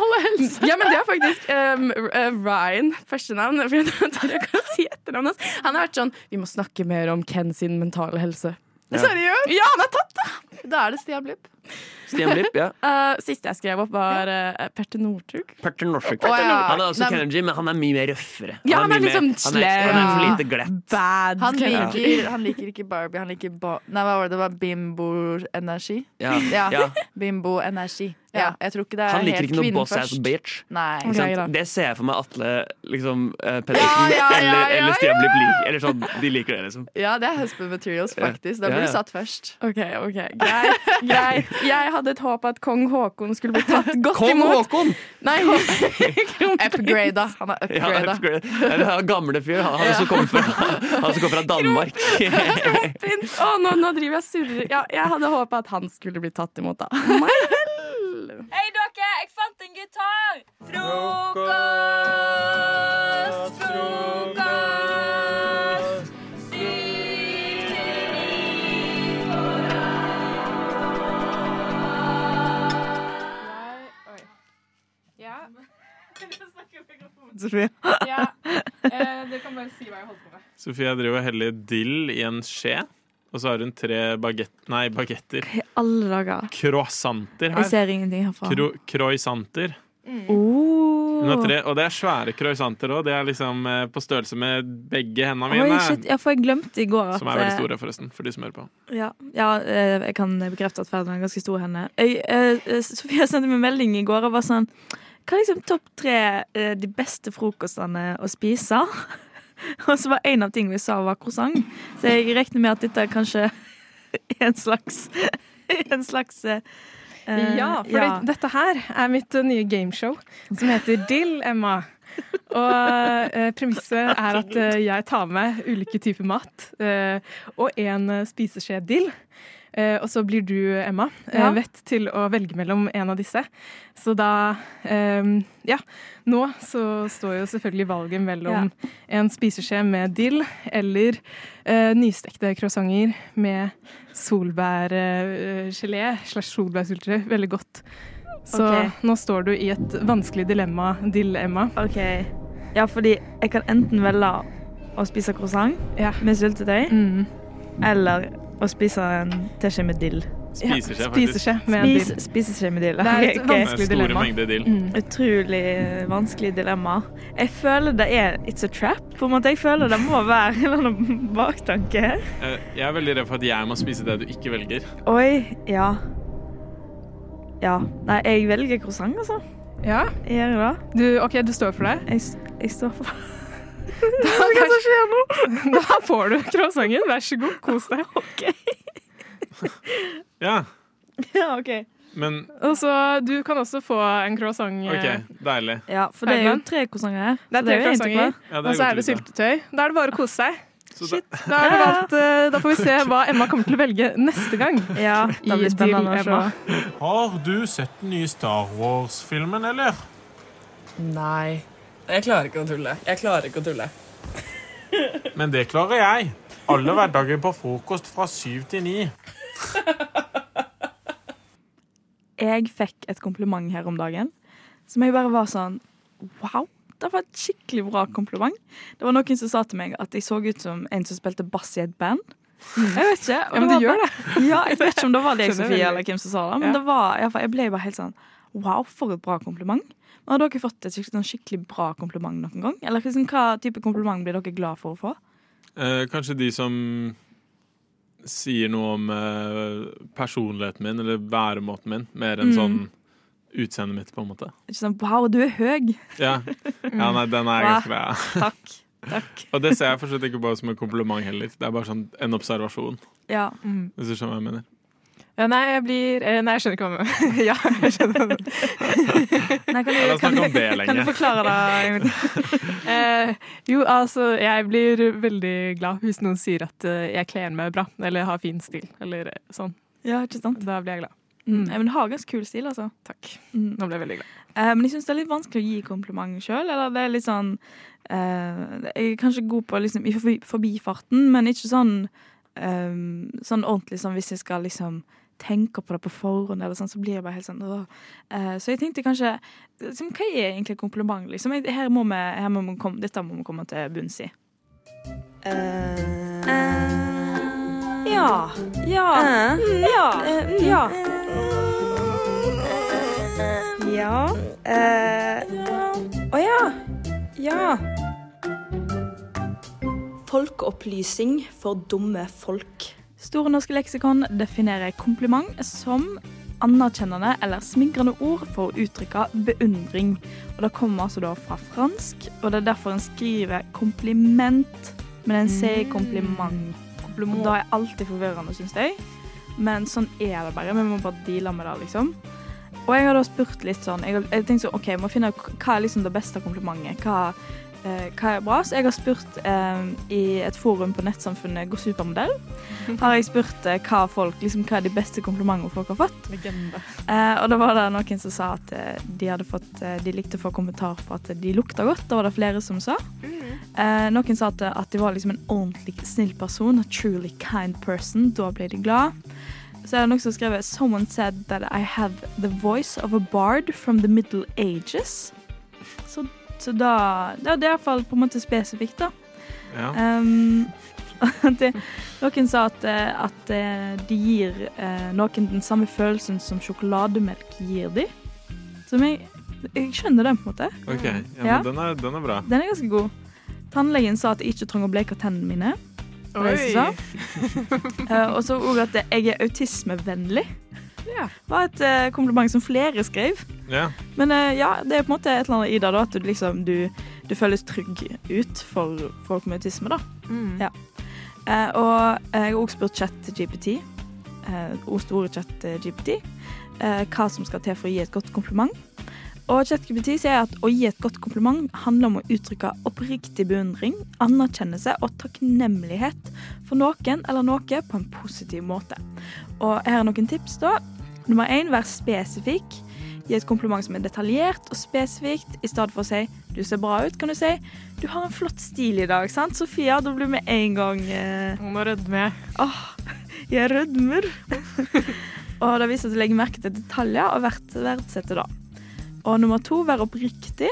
Ja, men det er faktisk um, eh, Ryan, førstenavn. For jeg tror jeg kan si etternavnet hans. Han har vært sånn Vi må snakke mer om Ken sin mentale helse.
Ja.
Seriøst? Ja, han har tatt det! Da er det Stian Blipp.
Stian Blipp, ja.
Eh, siste jeg skrev opp, var eh, Petter Northug.
Perter Norsuk.
Å, ja.
Han er også
Nei, men-
Kenji, men han er mye mer røffere.
Ja, han er
mye
liksom
mer- han er- Han er for
slem.
lite glatt.
Bad
Han
Kenner.
liker, han liker ikke Barbie, han liker ba Nei, hva var det? Det var bimbo-energi?
Ja, ja.
Bimbo-energi. Ja, jeg tror ikke det er
Han liker
helt
ikke noe
kvinnen
boss ass
først.
bitch.
Nei.
Ikke sant? det ser jeg for meg Atle liksom, eh,
Ja,
Pedersen
ja, ja,
eller,
ja,
eller Stian
ja.
Blipp liker. Eller sånn, de liker det, liksom.
Ja, det er husband materials,
Ja.
faktisk. Da
Ja,
blir
ja.
du satt først.
OK, ok, greit. greit. Jeg hadde et håp at kong Haakon skulle bli tatt godt
Kong
imot.
Haakon?
Nei,
Upgrada. Han er
Ja,
upgrada.
upgrade. Ja, det er han gamle fyr, han, han, som kommer fra, han som kommer fra Danmark.
Kronprins! Å, nå, nå driver jeg og surrer. Ja, jeg hadde håpa at han skulle bli tatt imot, da.
Hei, dere! Jeg fant en gitar! Frokost, frokost. Syv til ni på
Ja.
Sofie.
ja. Eh, dere kan bare si hva jeg holder på med.
Sofie driver og heller dill i en skje, og så har hun tre bagett, nei, bagetter.
Alle dager.
Croissanter her.
Jeg ser ingenting herfra.
Cro croissanter. Hun har
Oh.
tre, og det er svære croissanter òg. Det er liksom eh, på størrelse med begge hendene
Oi,
mine.
shit. Ja, for jeg glemte i går at
Som er veldig
eh,
store, forresten, for de som hører på.
Ja, ja eh, jeg kan bekrefte at Ferdinand er ganske stor henne. Jeg, eh, eh, Sofia sendte meg en melding i går og var sånn Hva er liksom topp tre eh, de beste frokostene å spise? og så var en av tingene vi sa var croissant, så jeg regner med at dette er kanskje en slags En slags eh, eh,
Ja, for det- dette her er mitt eh, nye gameshow som heter Dill Emma. Og eh, premisset er at eh, jeg tar med ulike typer mat eh, og en eh, spiseskje dill. Eh, og så blir du, Emma, eh,
Ja.
vett til å velge mellom en av disse. Så da eh, Ja. Nå så står jo selvfølgelig valget mellom en spiseskje med dill eller eh, nystekte croissanter med solbærgelé slash solbærsultre. Veldig godt. Så
Ok.
nå står du i et vanskelig dilemma, dilemma.
OK. Ja, fordi jeg kan enten velge å spise croissant med syltetøy,
Mm.
eller å spise en teskje med dill.
Spiseskje, Ja, faktisk. spiseskje med
Spis,
dill.
Spiseskje med dill.
Det er et
Ok, ok.
vanskelig
Store dilemma. mengder dill. Mm.
Utrolig vanskelig dilemma. Jeg føler det er it's a trap, på en måte. Jeg føler det må være en eller annen baktanke her.
Eh, Jeg er veldig redd for at jeg må spise det du ikke velger.
Oi, ja. Ja. Nei, jeg velger croissant, altså.
Ja?
Jeg gjør det.
Du, OK, du står for det?
Jeg, s- jeg står for det.
Hva er det som skjer nå? Da får du croissanten. Vær så god, kos deg.
Ja,
Ja, OK.
men
Og så, du kan også få en croissant. eh,
OK, deilig.
Ja, for det er jo
Herman.
tre croissanter her.
Det
så
er tre
jo egentlig bra.
croissanter,
Ja, det er
og så er
godt
det
lite.
syltetøy. Da er det bare å kose seg.
Shit.
Da, er det valgt, eh, da får vi se hva Emma kommer til å velge neste gang.
Ja,
i Dill Emma.
Har du sett den nye Star Wars-filmen, eller?
Nei. Jeg klarer ikke å tulle. Jeg klarer ikke å tulle.
Men det klarer jeg. Alle hverdager på frokost fra syv til ni.
jeg fikk et kompliment her om dagen som jeg bare var sånn Wow! Det var et skikkelig bra kompliment. Det var noen som sa til meg at jeg så ut som en som spilte bass i et band. Jeg vet ikke. og
Ja, men
var
du gjør
bare- Ja, jeg vet ikke om det var deg,
Skjønner
Sofie,
veldig.
eller hvem som sa det, men
Ja.
det var, i hvert fall- jeg ble bare helt sånn Wow, for et bra kompliment. Men har dere fått et skikkelig, sånn skikkelig bra kompliment noen gang? Eller liksom, hva type kompliment blir dere glad for å få?
Eh, kanskje de som sier noe om eh, personligheten min, eller væremåten min, mer enn
Mm.
sånn utseendet mitt, på en måte.
Ikke sånn Wow, du er høy!
Ja, ja nei, den er
Wow.
ganske bra.
Takk.
Og det ser jeg for så vidt ikke bare som en kompliment heller. Det er bare sånn en observasjon.
Ja. Mm.
Hvis du skjønner hva jeg mener.
Ja, nei, jeg blir eh, Nei, jeg skjønner ikke hva jeg mener. Ja, jeg skjønner hva jeg mener. Nei,
Ja, la oss snakke om det lenge.
Kan du forklare det? en gang til? Eh, jo, altså, jeg blir veldig glad hvis noen sier at eh, jeg kler meg bra, eller har fin stil, eller eh, sånn.
Ja, ikke sant?
Da blir jeg glad.
Mm. Ja, men du har ganske kul stil, altså.
Takk. Nå ble jeg veldig glad.
Eh, men jeg syns det er litt vanskelig å gi kompliment sjøl. Eller det er litt sånn eh, Jeg er kanskje god på liksom, i forbi- forbifarten, men ikke sånn eh, Sånn ordentlig sånn hvis jeg skal liksom tenke på det på forhånd, eller sånn, så blir jeg bare helt sånn åh. Eh, Så jeg tenkte kanskje liksom, Hva er egentlig et kompliment, liksom? Jeg- Her må vi, her må vi komme, dette må vi komme til bunns i.
Ja. Ja. Ja. Ja. Ja.
Eh.
Å ja. Ja. Folkeopplysning for dumme folk.
Store norske leksikon definerer kompliment som anerkjennende eller smigrende ord for å uttrykke beundring. Og Det kommer altså da fra fransk, og det er derfor en skriver kompliment, men en sier kompliment. Og Da er alltid forvirrende, syns jeg. Men sånn er det bare. Vi må bare deale med det, liksom. Og jeg har da spurt litt sånn Jeg, har- jeg tenkte sånn, OK, jeg må finne ut hva er liksom det beste komplimentet. Hva, eh, hva er bra? Så jeg har spurt eh, i et forum på nettsamfunnet Gå supermodell. Har jeg spurt eh, hva, folk, liksom, hva er de beste komplimentene folk har fått.
Legende.
Eh, og da var det noen som sa at eh, de, hadde fått, eh, de likte å få kommentar på at de lukta godt. Da var det flere som sa. Eh, noen sa at, at de var liksom en ordentlig snill person. A truly kind person. Da ble de glad. Så er det noen som har skrevet Someone said that I have the voice of a bard from the middle ages. Så, så da ja, Det er iallfall på en måte spesifikt, da.
Ja.
Um, det, noen sa at, eh, at eh, de gir eh, noen den samme følelsen som sjokolademelk gir de. Som jeg, jeg skjønner den, på en måte.
OK. Ja, men
Ja.
Den, er, den er bra.
Den er ganske god. Tannlegen sa at jeg ikke trenger å bleke tennene mine. Det var det som sa. Eh, Og så òg at jeg er autismevennlig.
Ja.
var et eh, kompliment som flere skrev.
Ja.
Men eh, ja, det er på en måte et eller annet i det da, at du liksom du, du føles trygg ut for folk med autisme, da. Ja. Eh, og jeg har også spurt ChatGPT, eh, og store ChatGPT, eh, hva som skal til for å gi et godt kompliment. Og ChatGPT sier at å gi et godt kompliment handler om å uttrykke oppriktig beundring, anerkjennelse og takknemlighet for noen eller noe på en positiv måte. Og her er noen tips, da. Nummer én, vær spesifikk. Gi et kompliment som er detaljert og spesifikt. I stedet for å si 'du ser bra ut', kan du si 'du har en flott stil i dag', sant, Sofia? Da blir vi en gang eh...
Nå rødmer jeg.
Åh, jeg rødmer. og det viser at du legger merke til detaljer og verd- verdsetter det. Og nummer to, vær oppriktig.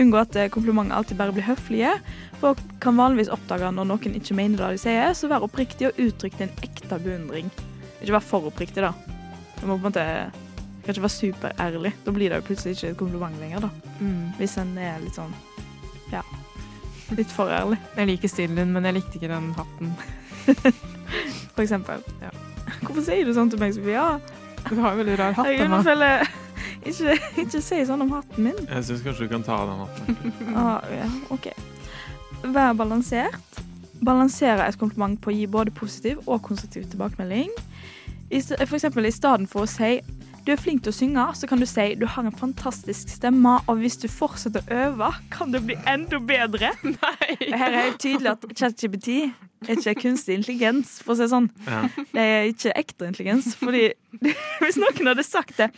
Unngå at eh, komplimenter alltid bare blir høflige. Folk kan vanligvis oppdage når noen ikke mener det de sier, så vær oppriktig og uttrykk din ekte beundring. Ikke vær for oppriktig, da. Du må på en måte du kan ikke være superærlig. Da blir det jo plutselig ikke et kompliment lenger, da.
Mm.
Hvis en er litt sånn ja, litt for ærlig.
Jeg liker stilen din, men jeg likte ikke den hatten.
For eksempel. Hvorfor sier du sånn til meg, Sofia?
Du har jo veldig rar hatt.
Herregud,
Emma.
nå føler jeg ikke, ikke si sånn om hatten min.
Jeg syns kanskje du kan ta av den hatten.
Ah, ja, ok. Vær balansert. Balansere et kompliment på å gi både positiv og konstruktiv tilbakemelding. I st- For eksempel i stedet for å si du er flink til å synge, så kan du si du har en fantastisk stemme, og hvis du fortsetter å øve, kan du bli enda bedre. Her er det tydelig at ChatGPT er ikke kunstig intelligens, for å si det sånn.
Ja.
Det er ikke ekte intelligens, fordi hvis noen hadde sagt det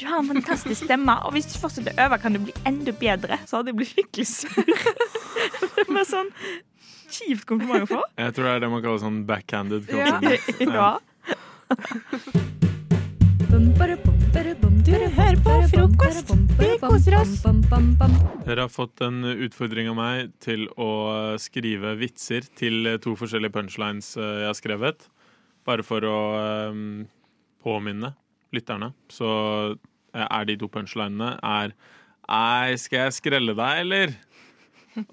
Du har en fantastisk stemme, og hvis du fortsetter å øve, kan du bli enda bedre, så hadde jeg blitt skikkelig sur. Det var sånn kjipt kompliment å få.
Jeg tror det er det man kaller sånn backhanded
Ja.
compliment.
Ja.
Du hører på frokost. Vi koser oss.
Dere har fått en utfordring av meg til å skrive vitser til to forskjellige punchlines eh, jeg har skrevet. Bare for å eh, påminne lytterne. Så eh, er de to punchlinene er Ei, skal jeg skrelle deg, eller?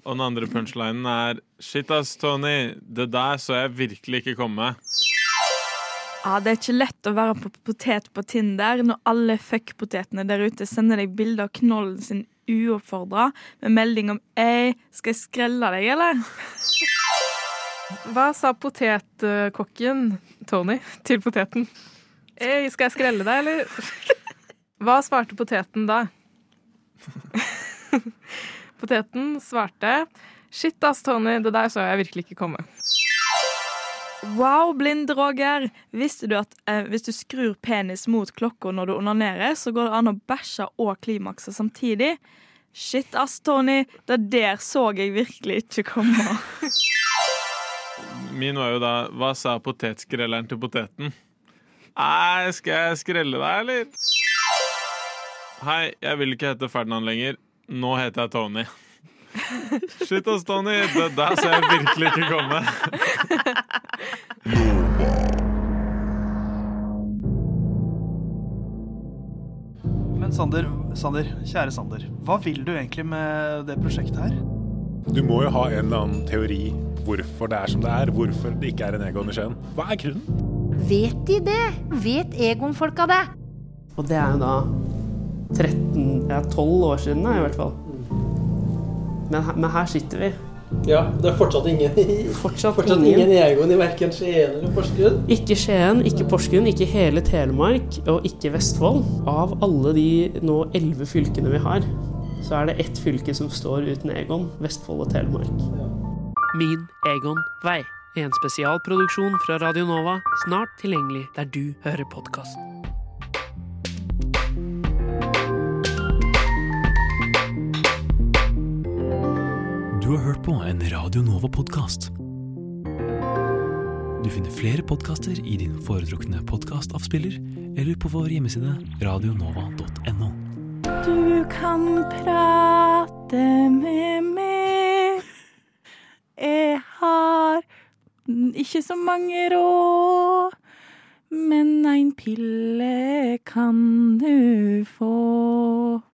Og den andre punchlinen er Shit ass, Tony, det der så jeg virkelig ikke komme.
Ja, det er ikke lett å være på potet på Tinder når alle fuckpotetene der ute sender deg bilder av knollen sin uoppfordra med melding om 'Ei, skal jeg skrelle deg, eller?'
Hva sa potetkokken Tony til poteten? Ei, skal jeg skrelle deg, eller? Hva svarte poteten da? poteten svarte Shit ass, Tony, det der så jeg virkelig ikke komme.
Wow, blinde Roger! Visste du at eh, hvis du skrur penis mot klokka når du onanerer, så går det an å bæsje og klimakse samtidig? Shit ass, Tony, det der så jeg virkelig ikke komme.
Min var jo da Hva sa potetskrelleren til poteten? Nei, skal jeg skrelle deg, eller? Hei, jeg vil ikke hete Ferdinand lenger. Nå heter jeg Tony. Shit ass, Tony. Det der ser jeg virkelig ikke komme.
Men Sander, Sander, kjære Sander, hva vil du egentlig med det prosjektet her?
Du må jo ha en eller annen teori hvorfor det er som det er. Hvorfor det ikke er en Egon i Skien. Hva er grunnen?
Vet de det? Vet Egon-folka det?
Og det er jo da 13 Ja, 12 år siden, da, i hvert fall. Men, he- men her sitter vi.
Ja, det er fortsatt ingen, fortsatt ingen.
ingen.
Egon i verken Skien eller Porsgrunn.
Ikke Skien, ikke Porsgrunn, ikke hele Telemark og ikke Vestfold. Av alle de nå elleve fylkene vi har, så er det ett fylke som står uten Egon. Vestfold og Telemark.
Min Egon Vei. En spesialproduksjon fra Radio Nova, snart tilgjengelig der du hører podkast.
Du har hørt på en Radio Nova-podkast. Du finner flere podkaster i din foretrukne podkastavspiller eller på vår hjemmeside radionova.no.
Du kan prate med meg.
Jeg har ikke så mange råd, men en pille kan